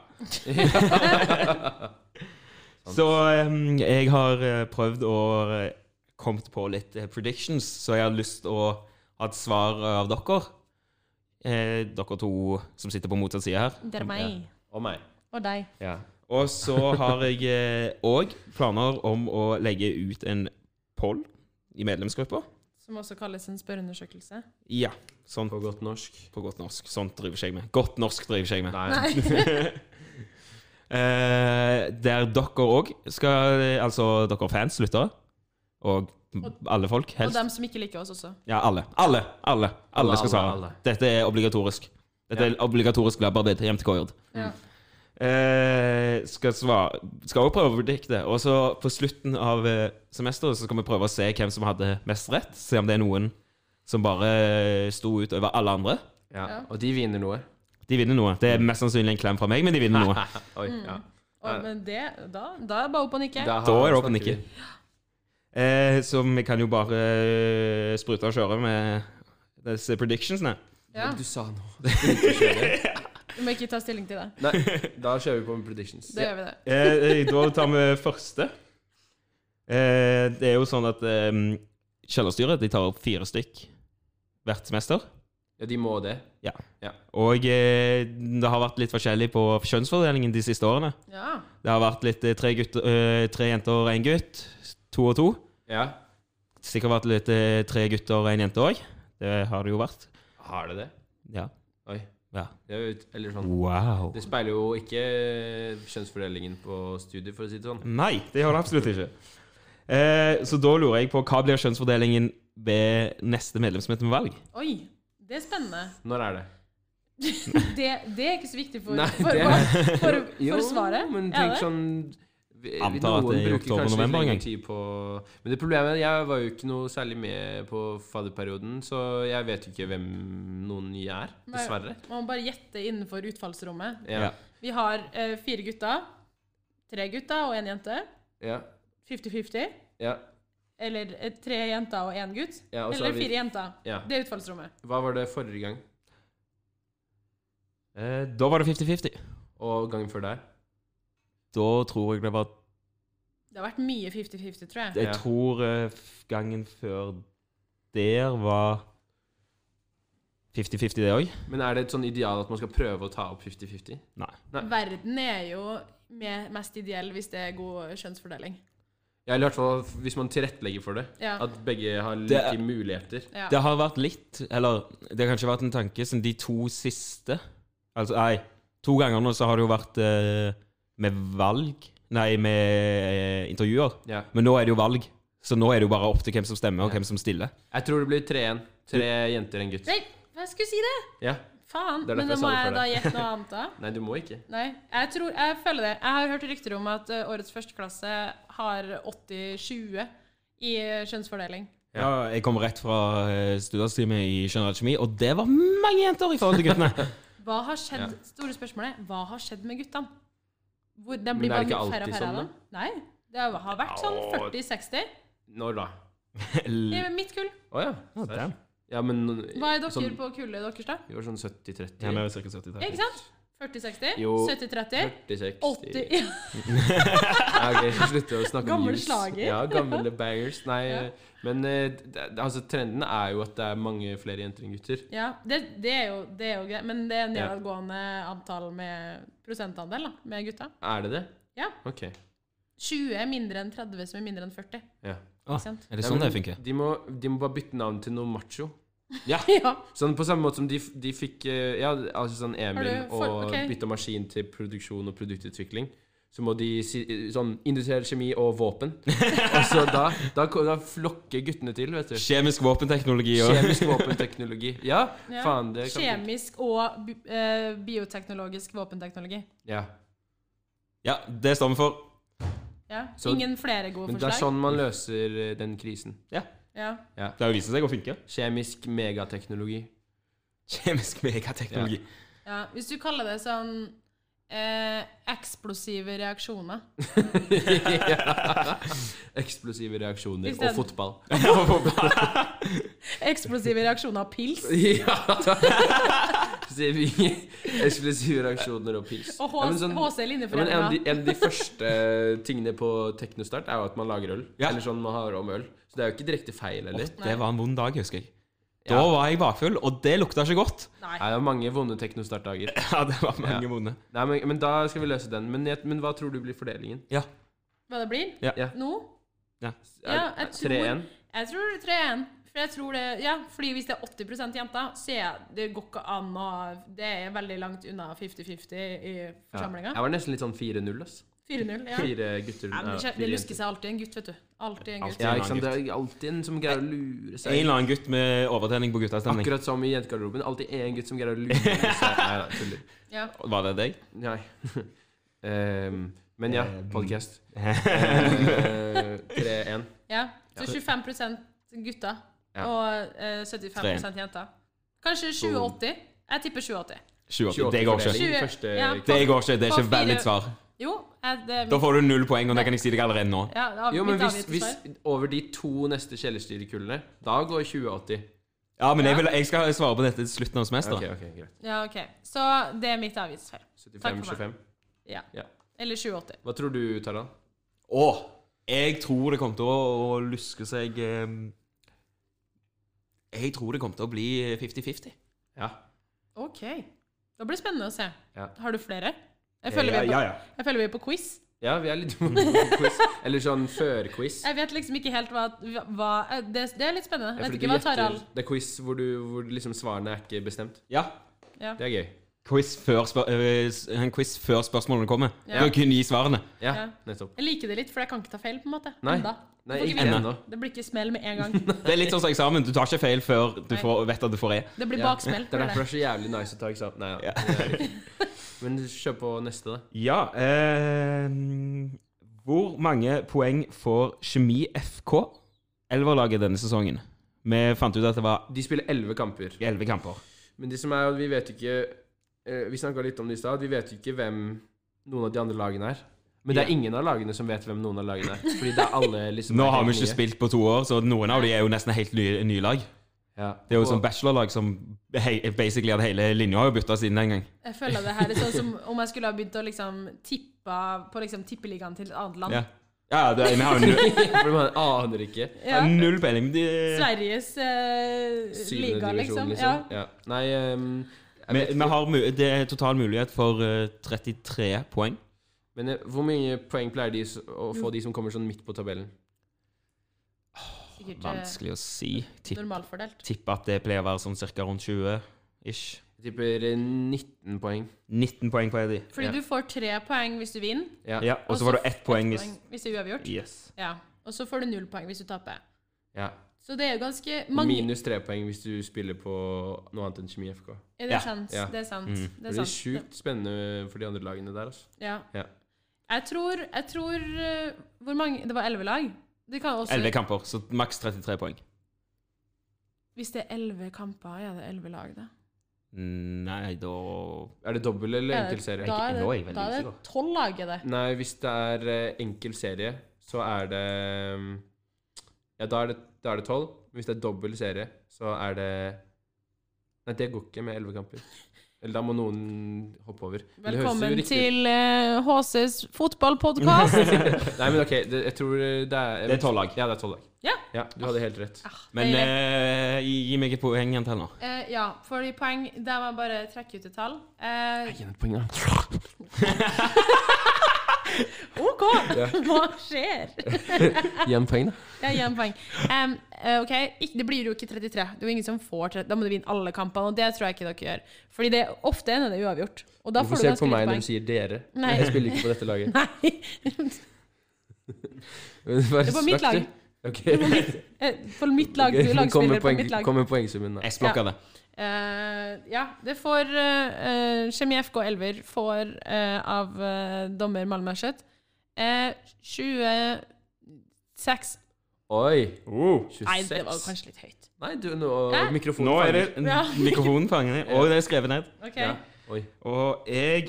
så em, jeg har eh, prøvd å eh, kommet på litt eh, predictions, så jeg har lyst til å ha et svar av dere. Eh, dere to som sitter på motsatt side her.
Det er meg.
Og meg.
Og deg.
Ja. Og så har jeg òg planer om å legge ut en poll i medlemsgruppa.
Som også kalles en spørreundersøkelse.
Ja. Sånt
På godt norsk.
på godt norsk. Sånt driver ikke jeg med. Godt norsk driver ikke jeg med.
Nei.
(laughs) Eh, der dere òg skal Altså dere fans, lyttere, og alle folk,
Og
helst.
dem som ikke liker oss også.
Ja, alle. Alle alle, alle skal
alle,
svare.
alle.
Dette er obligatorisk. Dette er obligatorisk labbarbeid hjem til KJ.
Ja.
Eh, skal svare Skal også prøve å predikte. Og så på slutten av eh, semesteret så skal vi prøve å se hvem som hadde mest rett. Se om det er noen som bare eh, sto ut over alle andre.
Ja.
Ja.
Og de vinner noe.
De vinner noe. Det er mest sannsynlig en klem fra meg, men de vinner noe.
(laughs) Oi,
Mm.
ja.
Og, men det, da, da er det bare opp og nikke.
Da
Da er det
snakker
åpen ikke.
vi.
Eh, så vi kan jo bare eh, sprute og kjøre med disse predictionsene.
Ja.
Du sa noe. (laughs)
Du må ikke ta stilling til det.
Nei, da kjører vi på med predictions.
Da gjør vi det.
Eh, eh, da tar vi første. Eh, det er jo sånn at eh, Kjellerstyret de tar opp fire stykk hvert semester.
Ja, de må det.
Og eh, det har vært litt forskjellig på kjønnsfordelingen de siste årene.
Ja.
Det har vært litt eh, tre, gutter, eh, tre jenter og én gutt. To og to.
Ja.
Sikkert vært litt eh, tre gutter og én jente òg. Det har det jo vært.
Har det det?
Ja.
Oi.
Ja.
Det er jo, ut- eller sånn.
Wow.
Det speiler jo ikke kjønnsfordelingen på studiet, for å si det sånn.
Nei, det gjør det absolutt ikke. Eh, så da lurer jeg på hva blir kjønnsfordelingen ved neste medlemsmøte med valg?
Oi. Det er
(laughs)
spennende.
Når er det?
Det, det er ikke så viktig for,
Nei,
for,
det-
for, for,
(laughs) Jo,
svaret.
men
Er
tenk
det?
sånn vi-
Antar at
noen
det er i
bruker
oktober,
kanskje litt
november en
lengre
gang.
tid på- Men det problemet er at jeg var jo ikke noe særlig med på fadderperioden, så jeg vet jo ikke hvem noen nye er,
Nei.
dessverre.
Man må bare gjette innenfor utfallsrommet.
Ja.
Vi har eh, fire gutter. Tre gutter og én jente.
Ja.
50-50.
ja.
Eller eh, tre jenter og én gutt.
Ja, og så har
Eller
vi-
fire jenter.
Ja.
Det er utfallsrommet.
Hva var det forrige gang?
Eh, da var det 50-50.
Og gangen før der?
Da tror jeg det var
Det har vært mye 50-50, tror jeg.
Jeg
Ja.
tror eh, f- gangen før der var 50-50, det òg.
Men er det et sånn ideal at man skal prøve å ta opp 50-50? Nei.
Verden er jo me- mest ideell hvis det er god kjønnsfordeling.
Ja, eller i hvert fall f- hvis man tilrettelegger for det.
Ja.
At begge har
Det er-
like muligheter.
ja.
Det har vært litt, eller det har kanskje vært en tanke siden de to siste Altså, nei, to ganger nå så har det jo vært eh, med valg Nei, med eh, intervjuer.
Ja.
Men nå er det jo valg, så nå er det jo bare opp til hvem som stemmer, og
Ja.
hvem som stiller.
Jeg tror det blir 3-1. Tre jenter og en gutt.
Nei, jeg skulle si det!
Ja.
Faen.
Det er derfor
Men da
jeg sa
må
det
jeg
for
da
deg.
gjette noe annet, da.
Nei, du må ikke.
Nei, jeg, tror, jeg føler det. Jeg har hørt rykter om at eh, årets førsteklasse har 80-20 i eh, kjønnsfordeling.
Ja, jeg kom rett fra eh, studiesteamet i generell kjemi, og det var mange jenter i forhold til
(laughs)
guttene.
Hva har skjedd,
Ja.
Store spørsmålet hva har skjedd med guttene? Hvor, de
Men
blir
er
bare
det ikke
færre og
alltid
færre av
sånn,
dem. Nei, det har vært sånn
Åh.
40-60.
Når da?
Det
L-
er mitt kull.
Å ja.
Ja, damn.
Ja, men
Hva er dere
sånn,
på kullet deres, da?
Vi var sånn
Ja,
70-30.
vi er cirka 70
Ikke sant? 40-60?
Jo.
70-30?
40-60
80
Ja, ok, Slutt å snakke om
Gammel
jus.
slager.
Ja, gamle bangers. Nei,
Ja.
men eh, det, altså, trenden er jo at det er mange flere jenter enn gutter.
Ja, det, det, er jo, det er jo greit, men det er
Ja.
nedadgående antall med prosentandel da, med gutta.
Er det det?
Ja.
Ok.
20 er mindre enn 30 som er mindre enn 40.
Ja.
Ah,
Ikke sant? (laughs)
Er det
Nei,
sånn
men
det funker?
De må, de må bare bytte navn til noe macho.
Ja.
Sånn På samme måte som de, f- de fikk eh, Ja, altså sånn Emil
Har du for-
og
ok.
bytta maskin til produksjon og produktutvikling. Så må de si eh, sånn industriell kjemi og
(laughs)
våpen. og så da, da, ko- da flokker guttene til, vet du.
Kjemisk våpenteknologi og
Kjemisk våpenteknologi. Ja,
Ja.
faen, det kan
Kjemisk og bi eh, bioteknologisk våpenteknologi.
Ja.
Ja, det står vi for.
Ja.
Så-
Ingen flere gode
Men det er
forslag.
sånn man løser eh, den krisen.
Ja.
Det har jo vist seg å funke.
Kjemisk
(laughs)
megateknologi. (laughs)
(laughs) Kjemisk megateknologi.
Ja. Hvis du kaller det sånn eh, eksplosive reaksjoner.
Ja. Eksplosive reaksjoner
Hvis det-
og
(laughs)
fotball.
Eksplosive reaksjoner av pils.
ja! (laughs) Sier vi. (laughs) Eksplosive reaksjoner og pils.
Og
Ja, men sånn-
HC
Ja, men en, av
Linjeforeninga.
de, en av de første tingene på Teknostart er jo at man lager øl.
Ja.
Eller sånn man har om øl. Så det er jo ikke direkte feil heller.
Åh, Det var en vond dag, husker jeg. Da
Ja.
var jeg bakfull, og det lukta ikke godt.
Nei.
Nei, det er mange vonde Teknostart-dager.
(laughs) Ja, det var mange
Ja.
vonde.
Nei, men, men da skal vi løse den. Men, jeg, men hva tror du blir fordelingen?
Hva det blir?
Ja.
Ja.
Nå?
Er-
Ja, jeg
er 3-1?
Jeg tror det er 3-1. For jeg tror det, ja, fordi hvis det er 80 jenter, så er det går ikke an å Det er veldig langt unna 50-50 i
Ja.
forsamlinga.
Jeg var nesten litt sånn 4-0, ass.
4-0, ja.
Fire gutter.
Nei, men det,
ja,
skjer-
fire
det lusker
jenter.
seg alltid en gutt, vet du. Alltid en gutt.
Alltid.
Ja, ikke sant? Det er alltid en som greier å lure
En
seg.
eller annen gutt med overtenning på guttastemning.
Akkurat som i jentegarderoben. Alltid en gutt som greier å lure seg. Nei da,
(laughs)
tuller.
Ja.
Var (laughs) det deg?
Nei. (laughs) Ehm, men ja,
Ehm. (laughs)
podcast. Ehm, 3-1.
ja. Så 25 gutter
Ja.
og eh, 75 jenter. Kanskje 20-80. Jeg tipper 20-80.
28.
28
Det går
fordeling.
ikke.
fordeling,
Tjue-
Første
ja.
Det går ikke, det er
På
ikke valid
fire-
svar.
Jo, jeg, det
Da får du null poeng, og det kan jeg si deg allerede nå.
ja, det er
Jo, men
mitt
hvis,
avgitte
hvis
svar.
over de to neste kjellerstyrekullene, da går 2080.
Ja, men jeg, vil, jeg skal svare på dette til slutten av
Ok,
semesteret.
ok, greit.
Ja, ok. Så det er mitt avgitte svar. Takk for
75-25.
Ja.
Ja.
Eller 20-80.
Hå tror du, Taran?
Å, jeg tror det kommer til å, å luske seg eh, Jeg tror det kommer til å bli 50-50.
Ja.
Ok. Da blir det spennende å se.
Ja. Eh,
Har du flere? Jeg
Eh,
føler, vi er på, jeg føler vi er på quiz.
Ja, vi er
(laughs)
litt quiz. Eller sånn før-quiz.
Jeg vet liksom ikke helt hva, hva eh, det, det er litt spennende. Jeg vet ikke hva Tarald
Det er quiz hvor, du, hvor liksom svarene er ikke bestemt.
Ja.
ja.
Det er gøy.
Quiz før, spør eh, s- en quiz før spørsmålene kommer.
Ja.
Du kan kun gi svarene.
Ja,
Ja.
nettopp.
Jeg liker det litt, for jeg kan ikke ta feil, på en måte.
Nei.
Enda.
Nei,
Får ikke
ikke
vite.
ennå.
Det blir ikke smell med en
(laughs)
gang.
Det er litt sånn som eksamen. Du tar ikke feil før du
Nei.
får, vet at du får E.
Det blir
Ja.
baksmell.
Det er
blir
derfor det er så jævlig nice å ta eksamen. Nei, ja. Men kjør på neste, da.
Ja ehm, Hvor mange poeng får Kjemi FK, Elverlaget, denne sesongen? Vi fant ut at det var
De spiller elleve kamper.
elleve kamper.
Men de som er, vi vet ikke eh, Vi snakka litt om det i stad. Vi vet jo ikke hvem noen av de andre lagene er. Men det er
Ja.
ingen av lagene som vet hvem noen av lagene er. Fordi det er alle liksom
Nå
er
har vi
helt
ikke
nye.
spilt på to år, så noen av de er jo nesten helt nye, nye lag.
Ja.
Det er jo
Og-
sånn bachelorlag som hei, basically at hele linja har jo bytta siden den gang.
Jeg føler det her er
(laughs)
sånn som om jeg skulle ha begynt å liksom tippe på liksom tippeligaen til et annet land.
Ja, ja det, vi har jo null,
(laughs) For man aner ikke.
(laughs) Ja.
null peiling. De,
Sveriges eh,
Syvende
liga,
divisjon,
liksom. Ja.
Ja. Nei ehm, jeg
vi,
vet
vi
ikke.
har, mu- det er total mulighet for eh, 33 poeng.
Men eh, hvor mye poeng pleier de s- å
Mm.
få, de som kommer sånn midt på tabellen?
Sikkert eh,
Vanskelig å si. Tipp,
normalfordelt.
tipper at det pleier å være sånn ca. rundt 20 ish.
Jeg tipper eh, 19 poeng.
19 poeng på Eddie.
Fordi
Ja.
du får tre poeng hvis du vinner.
Ja.
Ja, og
Og
så
så
får du ett poeng
Ett
hvis
hvis det er uavgjort.
Yes.
Ja. Og så får du null poeng hvis du taper.
Ja.
Så det er jo ganske
Og
mange
Minus 3 poeng hvis du spiller på noe annet enn Kjemi FK.
Er
Ja.
det sant?
Ja.
Det er sant.
Mm.
Det
Det
er
blir
sant.
sjukt spennende for de andre lagene der. Altså.
Ja.
Ja.
Jeg tror, jeg tror eh, Hvor mange Det var elleve lag. Det kan også
11 kamper, så maks 33 poeng.
Hvis det er elleve kamper, ja, det er elleve lag, da.
Nei, da
Er det dobbel eller
Ja,
enkel serie?
Da er
Nå er jeg
det,
veldig
da er det
usikker.
tolv lag, er det.
Nei, hvis det er eh, enkel serie, så er det mm, Ja, da er det, da er det 12. Hvis det er dobbel serie, så er det Nei, det går ikke med 11 kamper. Eller da må noen hoppe over. Men det høres jo
Velkommen
riktig ut.
til eh, HCs fotballpodkast.
(laughs) Nei, men OK, det, jeg tror eh, det er
Det er 12 lag.
Ja, det er 12 lag.
Ja.
du hadde helt rett. (laughs)
Men eh, gi, gi meg et poeng igjen til nå.
Ah, Eh, ja, fordi poeng Der må jeg bare trekke ut et tall. Eh,
Gi meg et poeng, da.
OK! (laughs) Hva skjer?
Gi meg et poeng, da.
Jeg gir en poeng. Em, eh, ok, Ik Det blir jo ikke 33. Det er jo ingen som får 30. Da må du vinne alle kampene, og det tror jeg ikke dere gjør. Fordi det ofte ender det uavgjort. Og da får
Hvorfor
du
ser du
ganske
på meg
lite
når
poeng.
du sier 'dere'?
Nei.
Jeg spiller ikke på dette laget.
(laughs) Nei.
Det
er på mitt lag.
Ok.
Eh, For mitt lag, du er
Kom
lagspiller
med
på
poeng-
mitt lag.
Kom med poengsummen, da.
Jeg splokka det.
Eh, ja, det får uh, Kjemi FK Elver får eh, av eh, dommer Malm Erseth eh, 26
Oi.
Nei, det var
26.
kanskje litt høyt.
Nei, du, nå,
Hæ?
mikrofonen
Nå er det
fanger.
Ja.
mikrofonen fanger, og det er skrevet ned.
Ok.
Ja. Oi.
Og jeg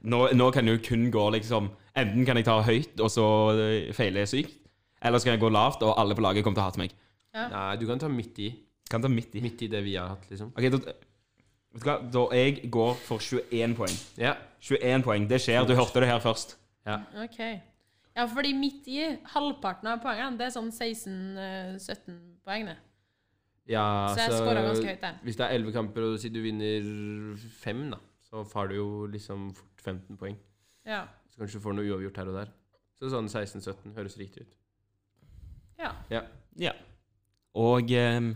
Nå, nå kan jeg jo kun gå liksom Enten kan jeg ta høyt, og så eh, feiler jeg sykt. Eller så kan jeg gå lavt, og alle på laget kommer til å hate meg.
Nei, du kan ta midt i.
Kan ta midt i.
Midt i det vi har hatt, liksom.
Ok, da, vet du hva? da jeg går for 21 poeng.
Ja.
21 poeng, Det skjer. Du hørte det her først.
Ok. Ja, fordi midt i halvparten av poengene, det er sånn 16-17 poeng, det.
ja
Så jeg scoret ganske høyt der.
Hvis det er 11 kamper, og si du vinner 5, da, så får du jo liksom fort 15 poeng.
Ja.
Så kanskje du får noe uavgjort her og der. Så sånn 16-17 høres riktig ut.
ja.
Ja.
Ja. Og ehm,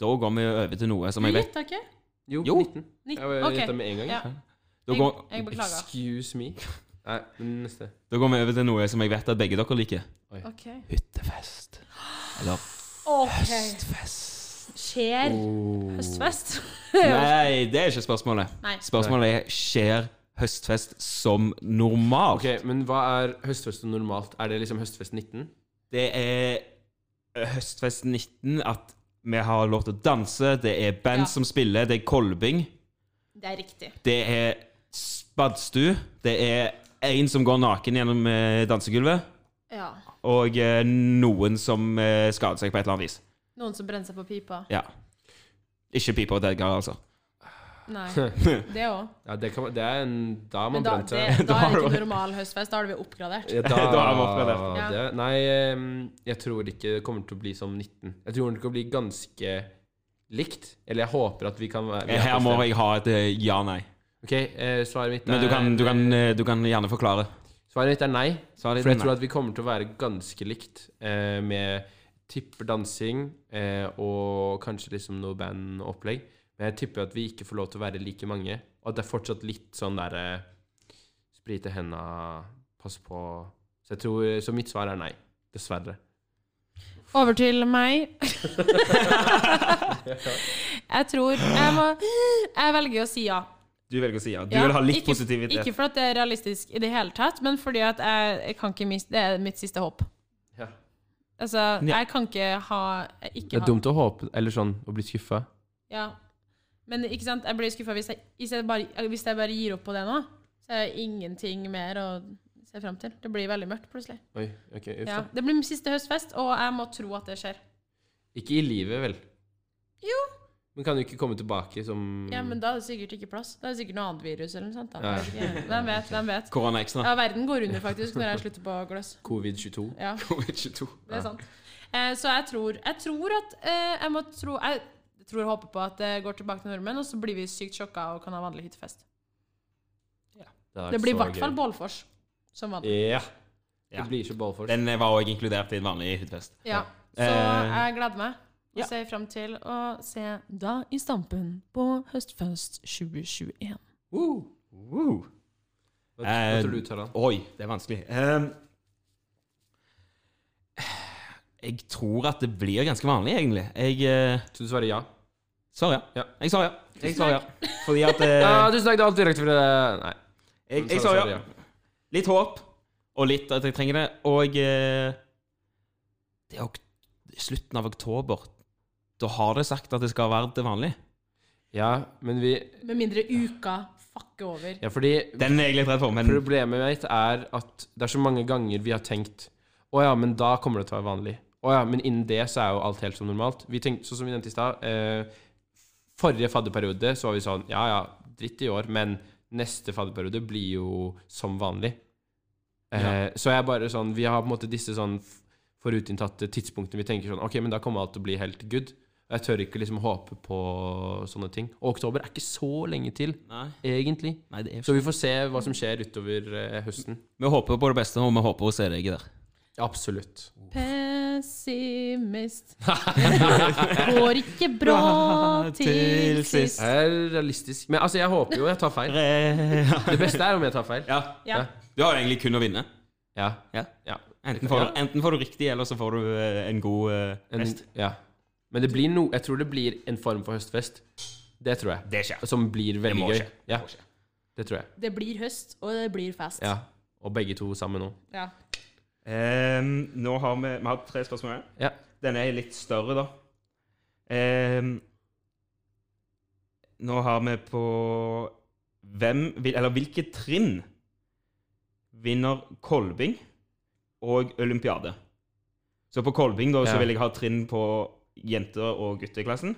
da går vi over til noe som
Du
jeg vet
gjetta ikke?
Jo,
Jo.
19.
Nitt-
Jeg
ok.
gjetta med en gang.
Ja.
da
Jeg,
går,
jeg beklager.
Excuse me. Nei, men neste.
da går vi over til noe som jeg vet at begge dere liker.
Ok.
Hyttefest. Eller
Ok.
høstfest.
Skjer høstfest?
Oh. Nei, det er ikke spørsmålet.
Nei.
Spørsmålet er skjer høstfest som normalt.
Ok, Men hva er høstfest og normalt? Er det liksom høstfest 19?
Det er eh, høstfest 19 at vi har lov til å danse, det er
Ja.
band som spiller, det er kolbing.
Det er riktig.
Det er spadstu. Det er en som går naken gjennom eh, dansegulvet.
Ja.
Og eh, noen som eh, skader seg på et eller annet vis.
Noen som brenner seg på pipa?
Ja. Ikke pipa og delgar, altså.
Nei. Det òg.
Ja, det, kan, det er en Da har
Men
man
da,
brent
det,
seg.
da er det
Da-
ikke normal høstfest. Da har vi oppgradert.
(laughs)
Ja,
Da har man oppgradert.
Ja.
det- Nei, ehm, jeg tror ikke det kommer til å bli som 19. Jeg tror det kommer til å bli ganske likt. Eller jeg håper at vi kan være vi er
Her
på
må
sted.
jeg ha et eh, ja-nei.
Ok, eh, svaret mitt er
Men du kan, du, kan, eh, du kan gjerne forklare.
Svaret mitt er nei.
Svaret ditt
For
er
jeg tror
nei.
at vi kommer til å være ganske likt eh, med tipper dansing eh, og kanskje liksom noe bandopplegg. Men jeg tipper at vi ikke får lov til å være like mange. Og at det er fortsatt litt sånn der eh, sprite henda, passe på Så jeg tror, så mitt svar er nei. Dessverre.
Over til meg. (laughs) jeg tror jeg, må, jeg velger å si ja.
Du velger å si ja. Du
Ja,
vil ha litt
ikke,
positivitet.
Ikke for at det er realistisk i det hele tatt, men fordi at jeg, jeg kan ikke miste Det er mitt siste håp.
Ja.
Altså,
Ja.
jeg kan ikke ha
Det
ikke
er
ha,
dumt å håpe, eller sånn, å bli skuffa.
ja. Men ikke sant, jeg blir skuffa hvis, jeg- hvis, jeg bare- hvis jeg bare gir opp på det nå. Så er det ingenting mer å se fram til. Det blir veldig mørkt plutselig.
Oi, ok, uff
Ja.
da.
Det blir min siste høstfest, og jeg må tro at det skjer.
Ikke i livet, vel?
Jo.
Men kan jo ikke komme tilbake som
Mm.
Ja, men da er det sikkert ikke plass. Da er det sikkert noe annet virus eller noe sånt. Da.
Ja.
Jeg vet ikke. Hvem vet, hvem vet.
Korona ekstra.
Ja, verden går under faktisk når jeg slutter på gløss.
covid-22.
Ja,
Covid-22.
det er sant. Eh, så jeg tror, jeg tror at eh, Jeg må tro Jeg tror og håper på at det går tilbake til nordmenn, og så blir vi sykt sjokka og kan ha vanlig hyttefest.
hadde vært
Det blir i
så
hvert
gøy.
fall Bålfors som vanlig.
Ja.
Ja.
Det blir så ballfors.
Den var òg inkludert i en vanlig hyttefest.
Ja. Eh. Så jeg gleder meg. Og ser fram til å se Da i Stampen på Høstfest 2021.
Woo.
Woo.
Hva,
Eh,
hva tror du, Taran?
Oi, det er vanskelig. Ehm, jeg tror at det blir ganske vanlig, egentlig. Jeg uh,
Så du svarer ja?
svarer ja.
Ja.
Jeg svarer ja. Jeg svarer ja. Fordi at eh,
(laughs) Ja, tusen takk, det er alt direkte fra deg. Nei.
jeg,
men
jeg
så
svarer
svarer
ja.
ja.
Litt håp, og litt at jeg trenger det. Og eh, det er ok slutten av oktober. Da har det sagt at det skal være til vanlig.
Ja, men vi
Med mindre uka fucker over.
Ja, fordi
Den er jeg litt redd for, men
problemet mitt er at det er så mange ganger vi har tenkt Å ja, men da kommer det til å være vanlig. Å ja, men innen det så er jo alt helt som normalt. Vi tenkte, sånn som vi nevnte i stad eh, Forrige fadderperiode så var vi sånn Ja ja, dritt i år, men neste fadderperiode blir jo som vanlig. Eh, Så jeg er bare sånn Vi har på en måte disse sånn f- forutinntatte tidspunktene vi tenker sånn OK, men da kommer alt til å bli helt good. Og Jeg tør ikke liksom håpe på sånne ting. Og oktober er ikke så lenge til,
Nei,
egentlig.
nei det er
Så vi får se hva som skjer utover eh, høsten.
Vi håper på det beste, og vi håper å se deg der.
Absolutt.
Pessimist. (laughs) Går ikke bra til sist.
Jeg er realistisk. Men altså, jeg håper jo jeg tar feil.
ja. (laughs)
Det beste er om jeg tar feil.
Ja.
Du har jo egentlig kun å vinne.
Ja.
Ja.
ja.
Enten får, du- enten får du riktig, eller så får du eh, en god eh,
En,
fest.
ja. Men det blir no, jeg tror det blir en form for høstfest. Det tror jeg.
Det skjer.
Som blir
Det
veldig
må
gøy.
skje. Det
Ja,
må skje.
det tror jeg.
Det blir høst, og det blir fest.
Ja. Og begge to sammen nå.
Ja.
Ehm, nå har vi, vi har tre spørsmål igjen.
Ja.
Denne er litt større, da. Ehm, nå har vi på Hvem vil, eller hvilke trinn vinner Kolbing og Olympiade? Så på Kolbing da, så
Ja.
vil jeg ha trinn på jenter- og gutteklassen.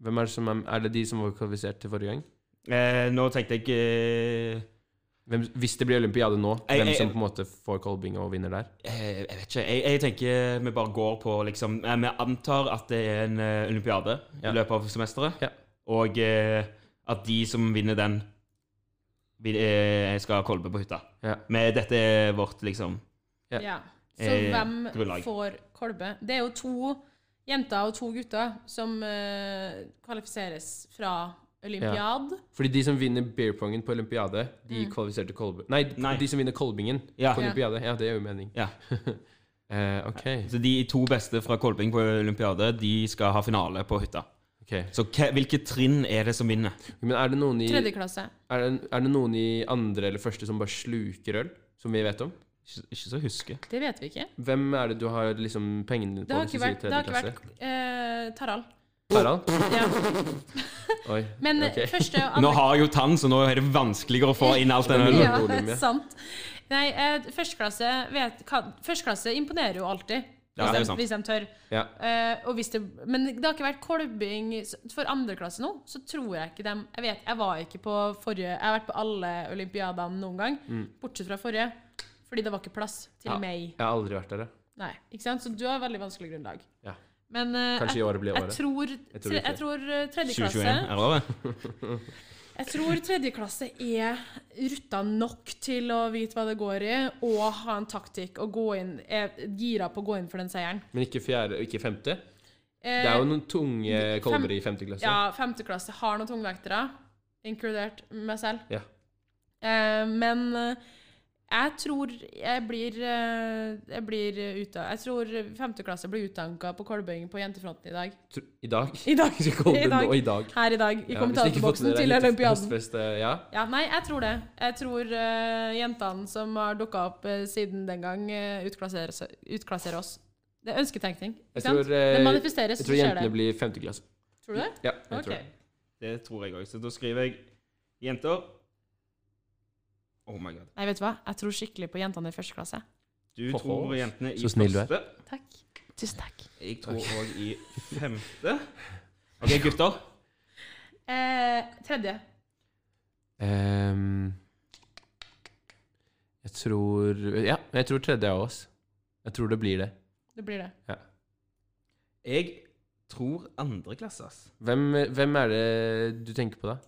Hvem er det som er Er det de som var kvalifisert til forrige gang?
Eh, nå tenkte jeg eh,
Hvem, hvis det blir olympiade nå,
Jeg-
hvem
jeg-
som på en måte får Kolbing og vinner der?
Eh, Jeg vet ikke. Jeg, jeg tenker vi bare går på liksom eh, Vi antar at det er en eh, olympiade
Ja.
i løpet av semesteret.
Ja.
Og eh, at de som vinner den, vil, eh, skal ha kolbe på hytta.
Ja.
Men dette er vårt liksom
Ja.
Ja. Så
Eh,
hvem
grunnlag.
får kolbe? Det er jo to jenter og to gutter som eh, kvalifiseres fra olympiad.
Fordi de som vinner beerpongen på olympiade, de kvalifiserer til Kolbing Nei,
Mm. Nei.
de som vinner Kolbingen
Ja.
på olympiade. Ja, det er jo mening.
Ja.
(laughs) Eh, ok.
Så de to beste fra kolbing på olympiade, de skal ha finale på hytta.
ok.
Så hva- hvilke trinn er det som vinner?
Men er det, noen i, er,
Tredje klasse.
det, er det noen i andre eller første som bare sluker øl? Som vi vet om?
Ikke, ikke så å huske.
Det vet vi ikke.
Hvem er det du har liksom pengene dine
Det
på?
har ikke vært, det har ikke vært eh, Tarald.
Harald?
Ja.
Oi.
(laughs)
Men eh,
ok.
første og
Nå
andre
har jeg jo tann, så nå er det vanskeligere å få inn alt den ølen.
Ja,
volum, ja.
sant. Nei, eh, førsteklasse, vet, hva- førsteklasse imponerer jo alltid.
Ja,
hvis,
det er jo sant.
de, hvis de tør.
Ja.
Eh, og hvis det, men det har ikke vært kolbing så- For andre klasse nå, så tror jeg ikke dem Jeg vet, jeg var ikke på forrige Jeg har vært på alle olympiadene noen gang, bortsett fra forrige. Fordi det var ikke plass til
Mm. Ja.
meg.
Jeg har aldri vært der, jeg.
Nei, ikke sant? Så du har veldig vanskelig grunnlag.
Ja.
Men eh,
Kanskje i
jeg,
året blir
jeg
året.
tror,
Jeg tror
tre,
ikke.
jeg tror eh, tredje
2021
klasse
er det året?
jeg tror tredjeklasse er rutta nok til å vite hva det går i, og ha en taktikk og gå inn, er gira på å gå inn for den seieren.
Men ikke fjerde, ikke femte?
Eh,
Det er jo noen tunge kolber i femte klasse.
Ja, femteklasse har noen tungvektere, inkludert meg selv.
Ja.
Eh, men eh, jeg tror jeg blir, eh, jeg blir uta... Jeg tror femteklasse blir utanka på kolbøying på jentefronten i dag.
Tr- I dag.
(laughs) I dag!
Skal kolber
I dag.
nå (laughs) i dag.
Her i dag, i
Ja, hvis dere ikke fått
kommentatorboksen
med dere
til
litt
olympiaden.
høstfest, eh, Ja.
Ja, nei, jeg tror det. Jeg tror eh, jentene som har dukka opp eh, siden den gang, eh, utklasserer, s- utklasserer oss. Det er ønsketenkning.
Jeg
Ikke sant?
tror, eh,
det manifesteres,
Jeg
så
tror
skjer det.
jentene blir femte klasse.
Tror du det?
Ja, jeg
Ok.
tror det.
Det tror jeg òg. Så da skriver jeg jenter. Oh my god.
Nei, vet du hva? Jeg tror skikkelig på jentene i første klasse.
Du
Hoho.
tror jentene i
Så snill du er.
første.
Takk. Tusen takk.
Jeg tror òg
(laughs)
i femte. OK, gutter.
Eh, tredje.
Ehm, jeg tror Ja, jeg tror tredje av oss. Jeg tror det blir det.
Det blir det.
Jeg tror andreklasse, ass.
Hvem, hvem er det du tenker på, da?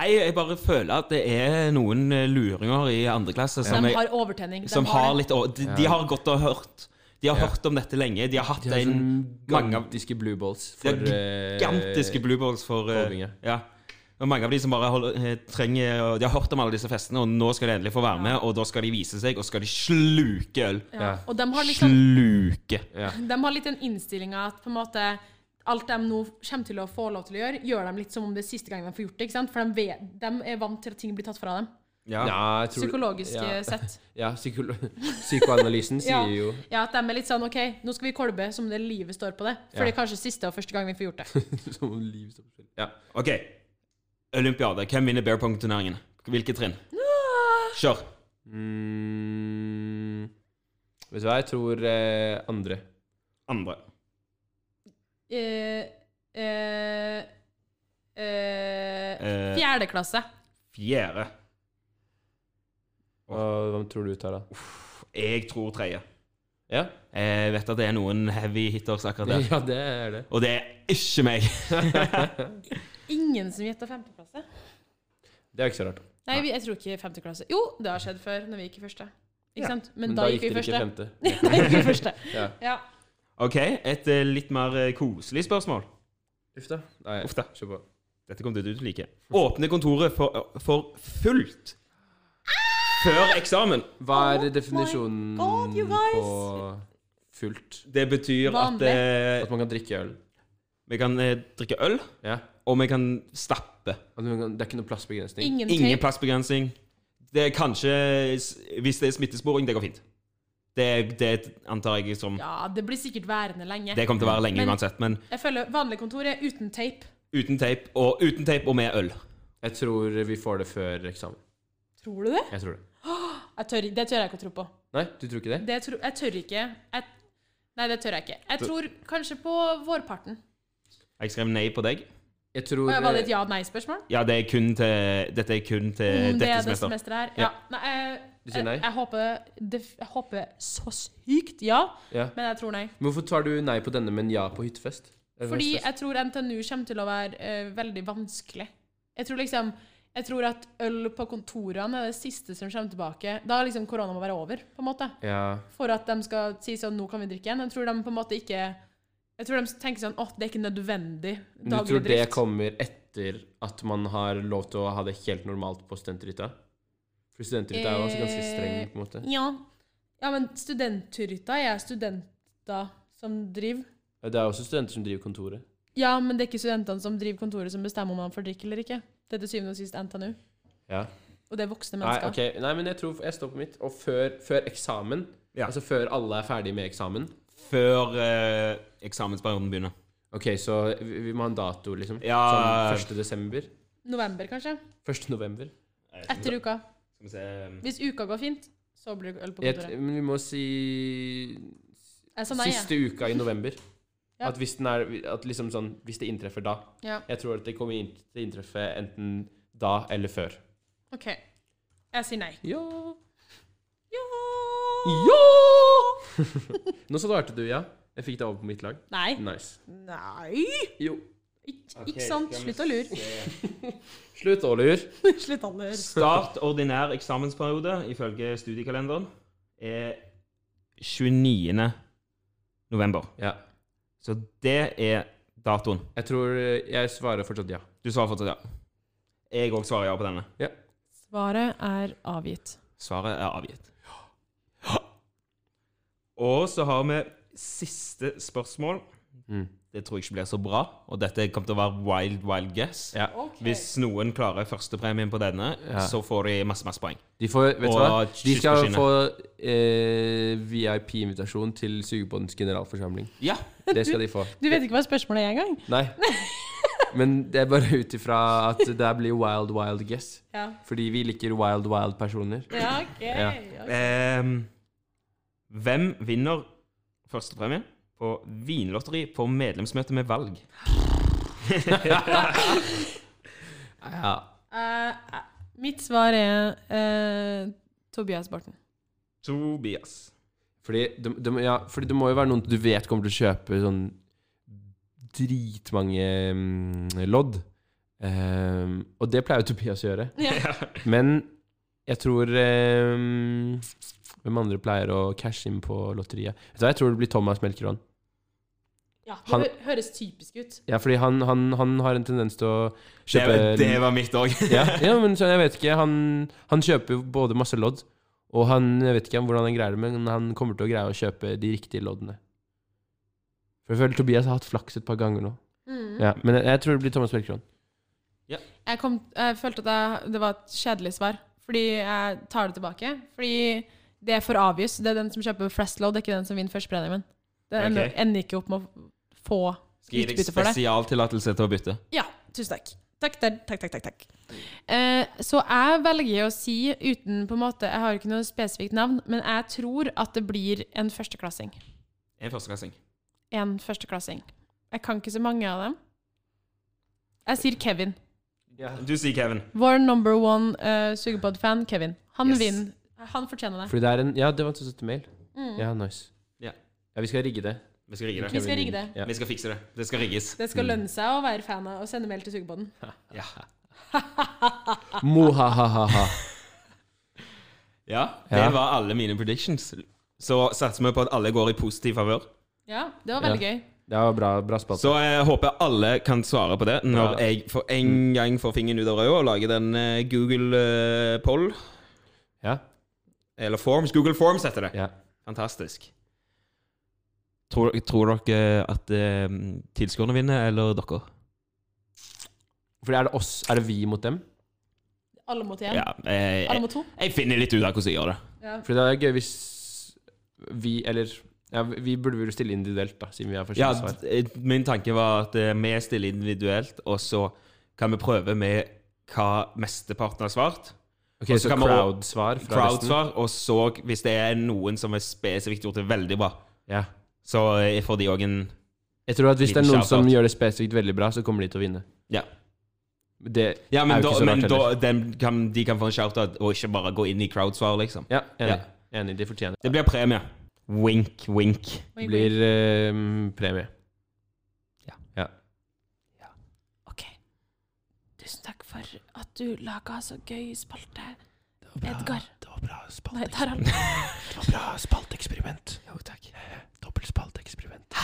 Nei, jeg bare føler at det er noen eh, luringer i andreklasse som,
De
jeg-
har overtenning. De
som har litt å- de, de
Ja.
har gått og hørt. De har
Ja.
hørt om dette lenge. De har hatt
De har
Ah, en
sånn
mange av-
gigantiske blue balls. eh,
De har gigantiske blue balls for eh,
Kolbinge.
Ja. Og mange av de som bare holder, eh, trenger og De har hørt om alle disse festene, og nå skal de endelig få være med, og da skal de vise seg, og skal de sluke øl.
ja. Og de har liksom
Sluke.
De har litt den innstillinga at på en måte alt de nå kommer til å få lov til å gjøre, gjør de litt som om det er siste gang de får gjort det. ikke sant? For de, vet, de er vant til at ting blir tatt fra dem.
Ja.
Ja, jeg tror-
Psykologisk
ja,
eh, sett.
Ja, psykolo (laughs) psykoanalysen
Ja.
sier jo (laughs)
Ja, at de er litt sånn OK, nå skal vi kolbe som det livet står på det. For
Ja.
det er kanskje siste og første gang vi får gjort det.
som om liv står på spill. Ja.
OK. Olympiade. Hvem vinner bear pong-turneringen? Hvilke trinn? Kjør.
Mm, vet du hva, jeg tror eh, andre.
Andre.
Eh, eh, eh,
Eh.
fjerde klasse.
Fjerde.
Og, hvem tror du tar da?
Jeg tror tredje.
Ja,
Jeg vet at det er noen heavy hitters akkurat der.
(laughs) ja det er det.
Og det er ikke meg.
Ingen som gjetta femteklasse?
Det er ikke så rart.
Nei, vi, jeg tror ikke femteklasse. Jo, det har skjedd før, når vi gikk i første. Ikke
Ja.
sant? Men, da, gikk vi i
dere
første.
femte.
(laughs) da gikk vi i første.
Ja.
Ja.
OK, et eh, litt mer eh, koselig spørsmål.
Uff da. Nei,
Uff da.
kjør på.
Dette kommer du til å like. Åpne kontoret for, for fullt før eksamen.
Hva er
Oh my
definisjonen
God, you guys.
på fullt?
Det betyr at
Vanlig.
eh,
At man kan drikke øl?
vi kan eh, drikke øl,
Ja.
og vi kan stappe.
At man kan, det er ikke noe plassbegrensning?
Ingen
Ingen
tape.
plassbegrensning. Det er kanskje s- Hvis det er smittesporing, det går fint. Det, det antar jeg som
Ja, det blir sikkert værende lenge.
Det kommer til å være lenge
Men-
uansett, men
Jeg føler vanlig kontor er uten tape.
uten teip og, uten teip og med øl.
Jeg tror vi får det før eksamen.
Tror du det?
Jeg tror det.
Jeg tør, det tør jeg ikke å tro på.
Nei, du tror ikke det?
Det tro, jeg tør ikke. Jeg, nei, det tør jeg ikke. Jeg tror kanskje på vårparten.
Jeg skrev nei på deg.
Jeg tror
Og jeg var det
eh,
et ja-nei-spørsmål?
Ja, det er kun til, dette er kun til
Om Mm, det
dette
er det
semester.
semesteret her?
Ja.
Ja. Nei, jeg,
Du sier
jeg,
nei?
jeg, håper, def- jeg håper så sykt ja,
Ja.
men jeg tror nei.
Men Hvorfor tar du nei på denne, men ja på hyttefest? Er det
Fordi
festfest?
jeg tror NTNU kommer til å være eh, veldig vanskelig. Jeg tror liksom jeg tror at øl på kontorene er det siste som kommer tilbake. Da liksom korona må være over, på en måte.
Ja.
For at de skal si sånn 'nå kan vi drikke igjen'. Jeg tror de på en måte ikke Jeg tror de tenker sånn 'å, det er ikke nødvendig
Men du
daglig
tror det
drift'.
kommer etter at man har lov til å ha det helt normalt på studenthytta? For studenthytta er jo også ganske streng, på en måte.
Ja. ja, men studenthytta er studenter som driver.
Ja, Det er også studenter som driver kontoret.
Ja, men det er ikke studentene som driver kontoret som bestemmer om man får drikke eller ikke. Det er til syvende og sist NTNU.
Ja.
Og det er voksne
Nei,
mennesker.
ok. Nei, men jeg tror jeg står på mitt. Og før, før eksamen,
Ja.
altså før alle er ferdig med eksamen
Før eh, eksamensperioden begynner.
Ok, så vi, vi må ha en dato, liksom.
Ja.
Sånn 1. desember?
November, kanskje.
1. november?
Etter uka.
Skal vi se um,
Hvis uka går fint, så blir det øl på
Jeg,
kontoret.
men vi må si
Jeg sa nei, jeg.
siste uka i november.
(laughs) Ja.
At, hvis den er, at liksom sånn, hvis det inntreffer da
Ja.
Jeg tror at det kommer inn- til å inntreffe enten da eller før.
OK. Jeg sier nei.
Ja!
Ja!
(laughs)
Ja! Nå svarte du ja. Jeg fikk deg over på mitt lag.
Nei.
Nice.
Nei!
Jo.
Ik ikke sant? Slutt å lure.
Slutt å lure.
(laughs) Slutt å lure.
Start ordinær eksamensperiode ifølge studiekalenderen er 29. november.
Ja.
Så det er datoen.
Jeg tror eh, jeg svarer fortsatt ja.
Du svarer fortsatt ja. Jeg òg svarer ja på denne.
Svaret er avgitt.
Svaret er avgitt. Og så har vi siste spørsmål.
Mm.
Det tror jeg ikke blir så bra, og dette kommer til å være wild, wild guess.
Ja.
Hvis noen klarer førstepremien på denne,
Ja.
så får de masse, masse poeng.
De får, vet du
Og
hva? De skal
kystmaskiner.
få eh, VIP-invitasjon til Sugebåndens generalforsamling.
Ja.
Det skal de få.
(laughs) Du vet ikke hva spørsmålet er engang?
Nei. Men det er bare ut ifra at det her blir wild, wild guess.
Ja.
Fordi vi liker wild, wild personer.
Ja, OK.
Ja.
ok.
Ehm, hvem vinner førstepremien på vinlotteri på medlemsmøte med valg?
Ja.
(laughs) Eh, eh, mitt svar er eh, Tobias Barton.
Tobias.
Fordi det, det, må- ja, fordi det må jo være noen du vet kommer til å kjøpe sånn dritmange mm, lodd. Ehm, og det pleier jo Tobias å gjøre. Men jeg tror ehm, Hvem andre pleier å cashe inn på lotteriet? Vet du hva, Jeg tror det blir Thomas Melkerån.
Ja, det
Han-
hø- høres typisk ut.
Ja, fordi han, han, han har en tendens til å
Det,
kjøpe
det var mitt òg.
ja, ja, men så, jeg vet ikke. Han, han kjøper jo både masse lodd, og han Jeg vet ikke hvordan han greier det, men han kommer til å greie å kjøpe de riktige loddene. For jeg føler Tobias har hatt flaks et par ganger nå.
Mm.
Ja, men jeg, jeg tror det blir Thomas Melkerån.
Jeg, kom, jeg følte at jeg, det var et kjedelig svar, fordi jeg tar det tilbake. Fordi det er for obvious. Det er den som kjøper flest lodd, det er ikke den som vinner førstepremien. Det ender,
Ok.
ender ikke opp med å få
Skal gi deg
utbytte for det.
spesialtillatelse til å bytte.
Ja, tusen takk. Takk, der. takk, takk, takk, takk. Eh, så jeg velger å si, uten på en måte, jeg har ikke noe spesifikt navn, men jeg tror at det blir en førsteklassing.
En førsteklassing.
En førsteklassing. Jeg kan ikke så mange av dem. Jeg sier Kevin.
Du sier Kevin.
Vår number one uh, sugepodd-fan, Kevin. Han
Yes.
vinner. Han fortjener det.
Fordi det er en Ja, det var en 270 mail.
Mm.
Ja, nice.
Ja.
ja, vi skal rigge det.
Vi skal rigge
Vi
det.
skal rigge det.
Ja.
Vi skal fikse det. Det skal rigges.
Det skal lønne seg å være fan av og sende mail til sugepodden.
Ja.
Mohahaha.
ja. Det
Ja.
var alle mine predictions. Så satser vi på at alle går i positiv favør.
Ja, det var veldig gøy.
Det var bra, bra spalte.
Så jeg håper alle kan svare på det når
Ja.
jeg for en gang får fingeren ut av røya og lager den eh, Google eh, poll.
Ja.
Eller Forms. Google Forms heter det.
ja.
Fantastisk. Tror, tror dere at eh, tilskuerne vinner, eller dere?
Fordi er det oss? Er det vi mot dem?
Alle mot én.
Ja, jeg,
Alle
jeg,
mot to.
jeg finner litt ut av hvordan jeg gjør det.
Ja.
Fordi det er gøy hvis vi, eller ja, Vi burde vel stille individuelt, da, siden vi har
Ja,
forskjellige svar.
d- eh, min tanke var at eh, vi stiller individuelt, og så kan vi prøve med hva mesteparten har svart.
Ok,
Og så
Så
kan man-
crowd-svar fra resten?
Crowdsvar, og så hvis det er noen som er spesifikt gjort det veldig bra,
Ja.
så eh, får de òg en
Jeg tror at hvis det
Liten
er noen som
shoutout.
gjør det spesifikt veldig bra, så kommer de til å vinne.
Ja.
Det
Ja, men,
er jo
da,
ikke så
men
rart
da,
heller.
den kan, de kan få en shout-out, og ikke bare gå inn i crowdsvar, liksom.
Ja, enig.
Ja.
enig. De fortjener det.
Det blir premie. Wink, wink.
Oi, oi.
Blir eh, premie.
Ok. Tusen takk for at du laga så gøy spalte, Edgar.
Det var bra
Nei, Tarald.
spalteeksperiment. Jo, takk. Dobbeltspalteeksperiment.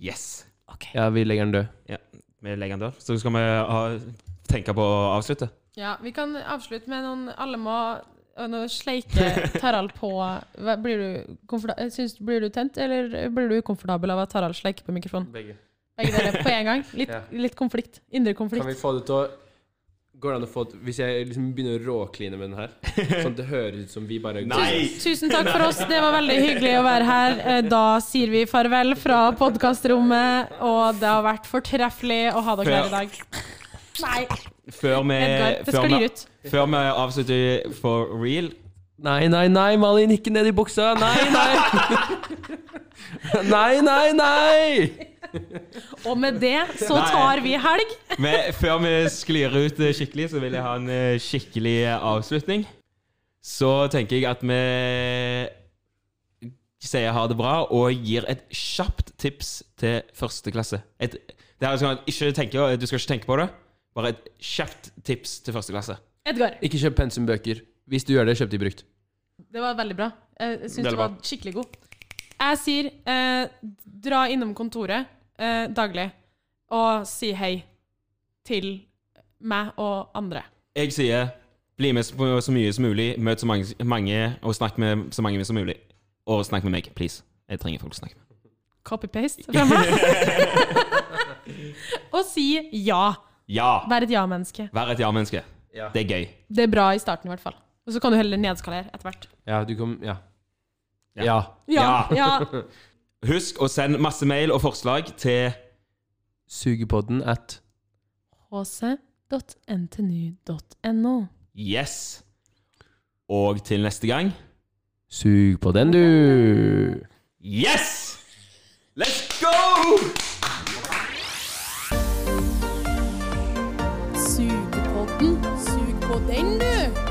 Yes.
(laughs) Ok.
Ja, vi legger den død.
Vi legger den der. Så skal vi ha, tenke på å avslutte.
Ja, vi kan avslutte med noen Alle må og nå sleike Tarald på hva, blir, du komforta- eh, syns, blir du tent, eller blir du ukomfortabel av at Tarald sleiker på mikrofonen?
Begge.
Begge dere på en gang. Litt,
Ja.
litt konflikt. Indre
Kan vi
konflikt.
få det til å Går det an å få det Hvis jeg liksom begynner å råkline med den (laughs) her, sånn at det høres ut som vi bare
Nei!
Tusen takk for oss. Det var veldig hyggelig å være her. Eh, Da sier vi farvel fra podkastrommet, og det har vært fortreffelig å ha dere her i dag. Eh, Nei,
Før vi,
Edgar, det
før vi,
sklir ut.
før vi avslutter for real
Nei, nei, nei, Malin, ikke ned i buksa! Nei, (laughs) nei! nei, nei, nei!
Og med det så tar vi helg.
Men før vi sklir ut eh, skikkelig, så vil jeg ha en eh, skikkelig avslutning. Så tenker jeg at vi sier ha det bra, og gir et kjapt tips til første klasse. Et, det er sånn at ikke tenke, Du skal ikke tenke på det. Bare et kjapt tips til første klasse.
Edgar,
Ikke kjøp pensumbøker. Hvis du gjør det, kjøp de brukt.
det var veldig bra. Jeg jeg syns
Veldig
du var skikkelig god. Jeg sier eh, dra innom kontoret eh, daglig og si hei til meg og andre.
Jeg sier bli med på så mye som mulig, møt så mange, mange og snakk med så mange som mulig. Og snakk med meg, please. Jeg trenger folk å snakke med.
Copy-paste fra meg. og si ja.
Ja!
Vær et ja-menneske.
Vær et ja-menneske.
Ja.
Det er gøy.
Det er bra i starten, i hvert fall. Og så kan du heller nedskalere etter hvert.
Ja, du kom Ja.
Ja.
ja.
Ja, ja.
Husk å sende masse mail og forslag til
Sugepodden at
hc.ntnu.no.
Yes. Og til neste gang
Sug på den, du!
Yes! Let's go!
Sugepodden. Sug på den, du!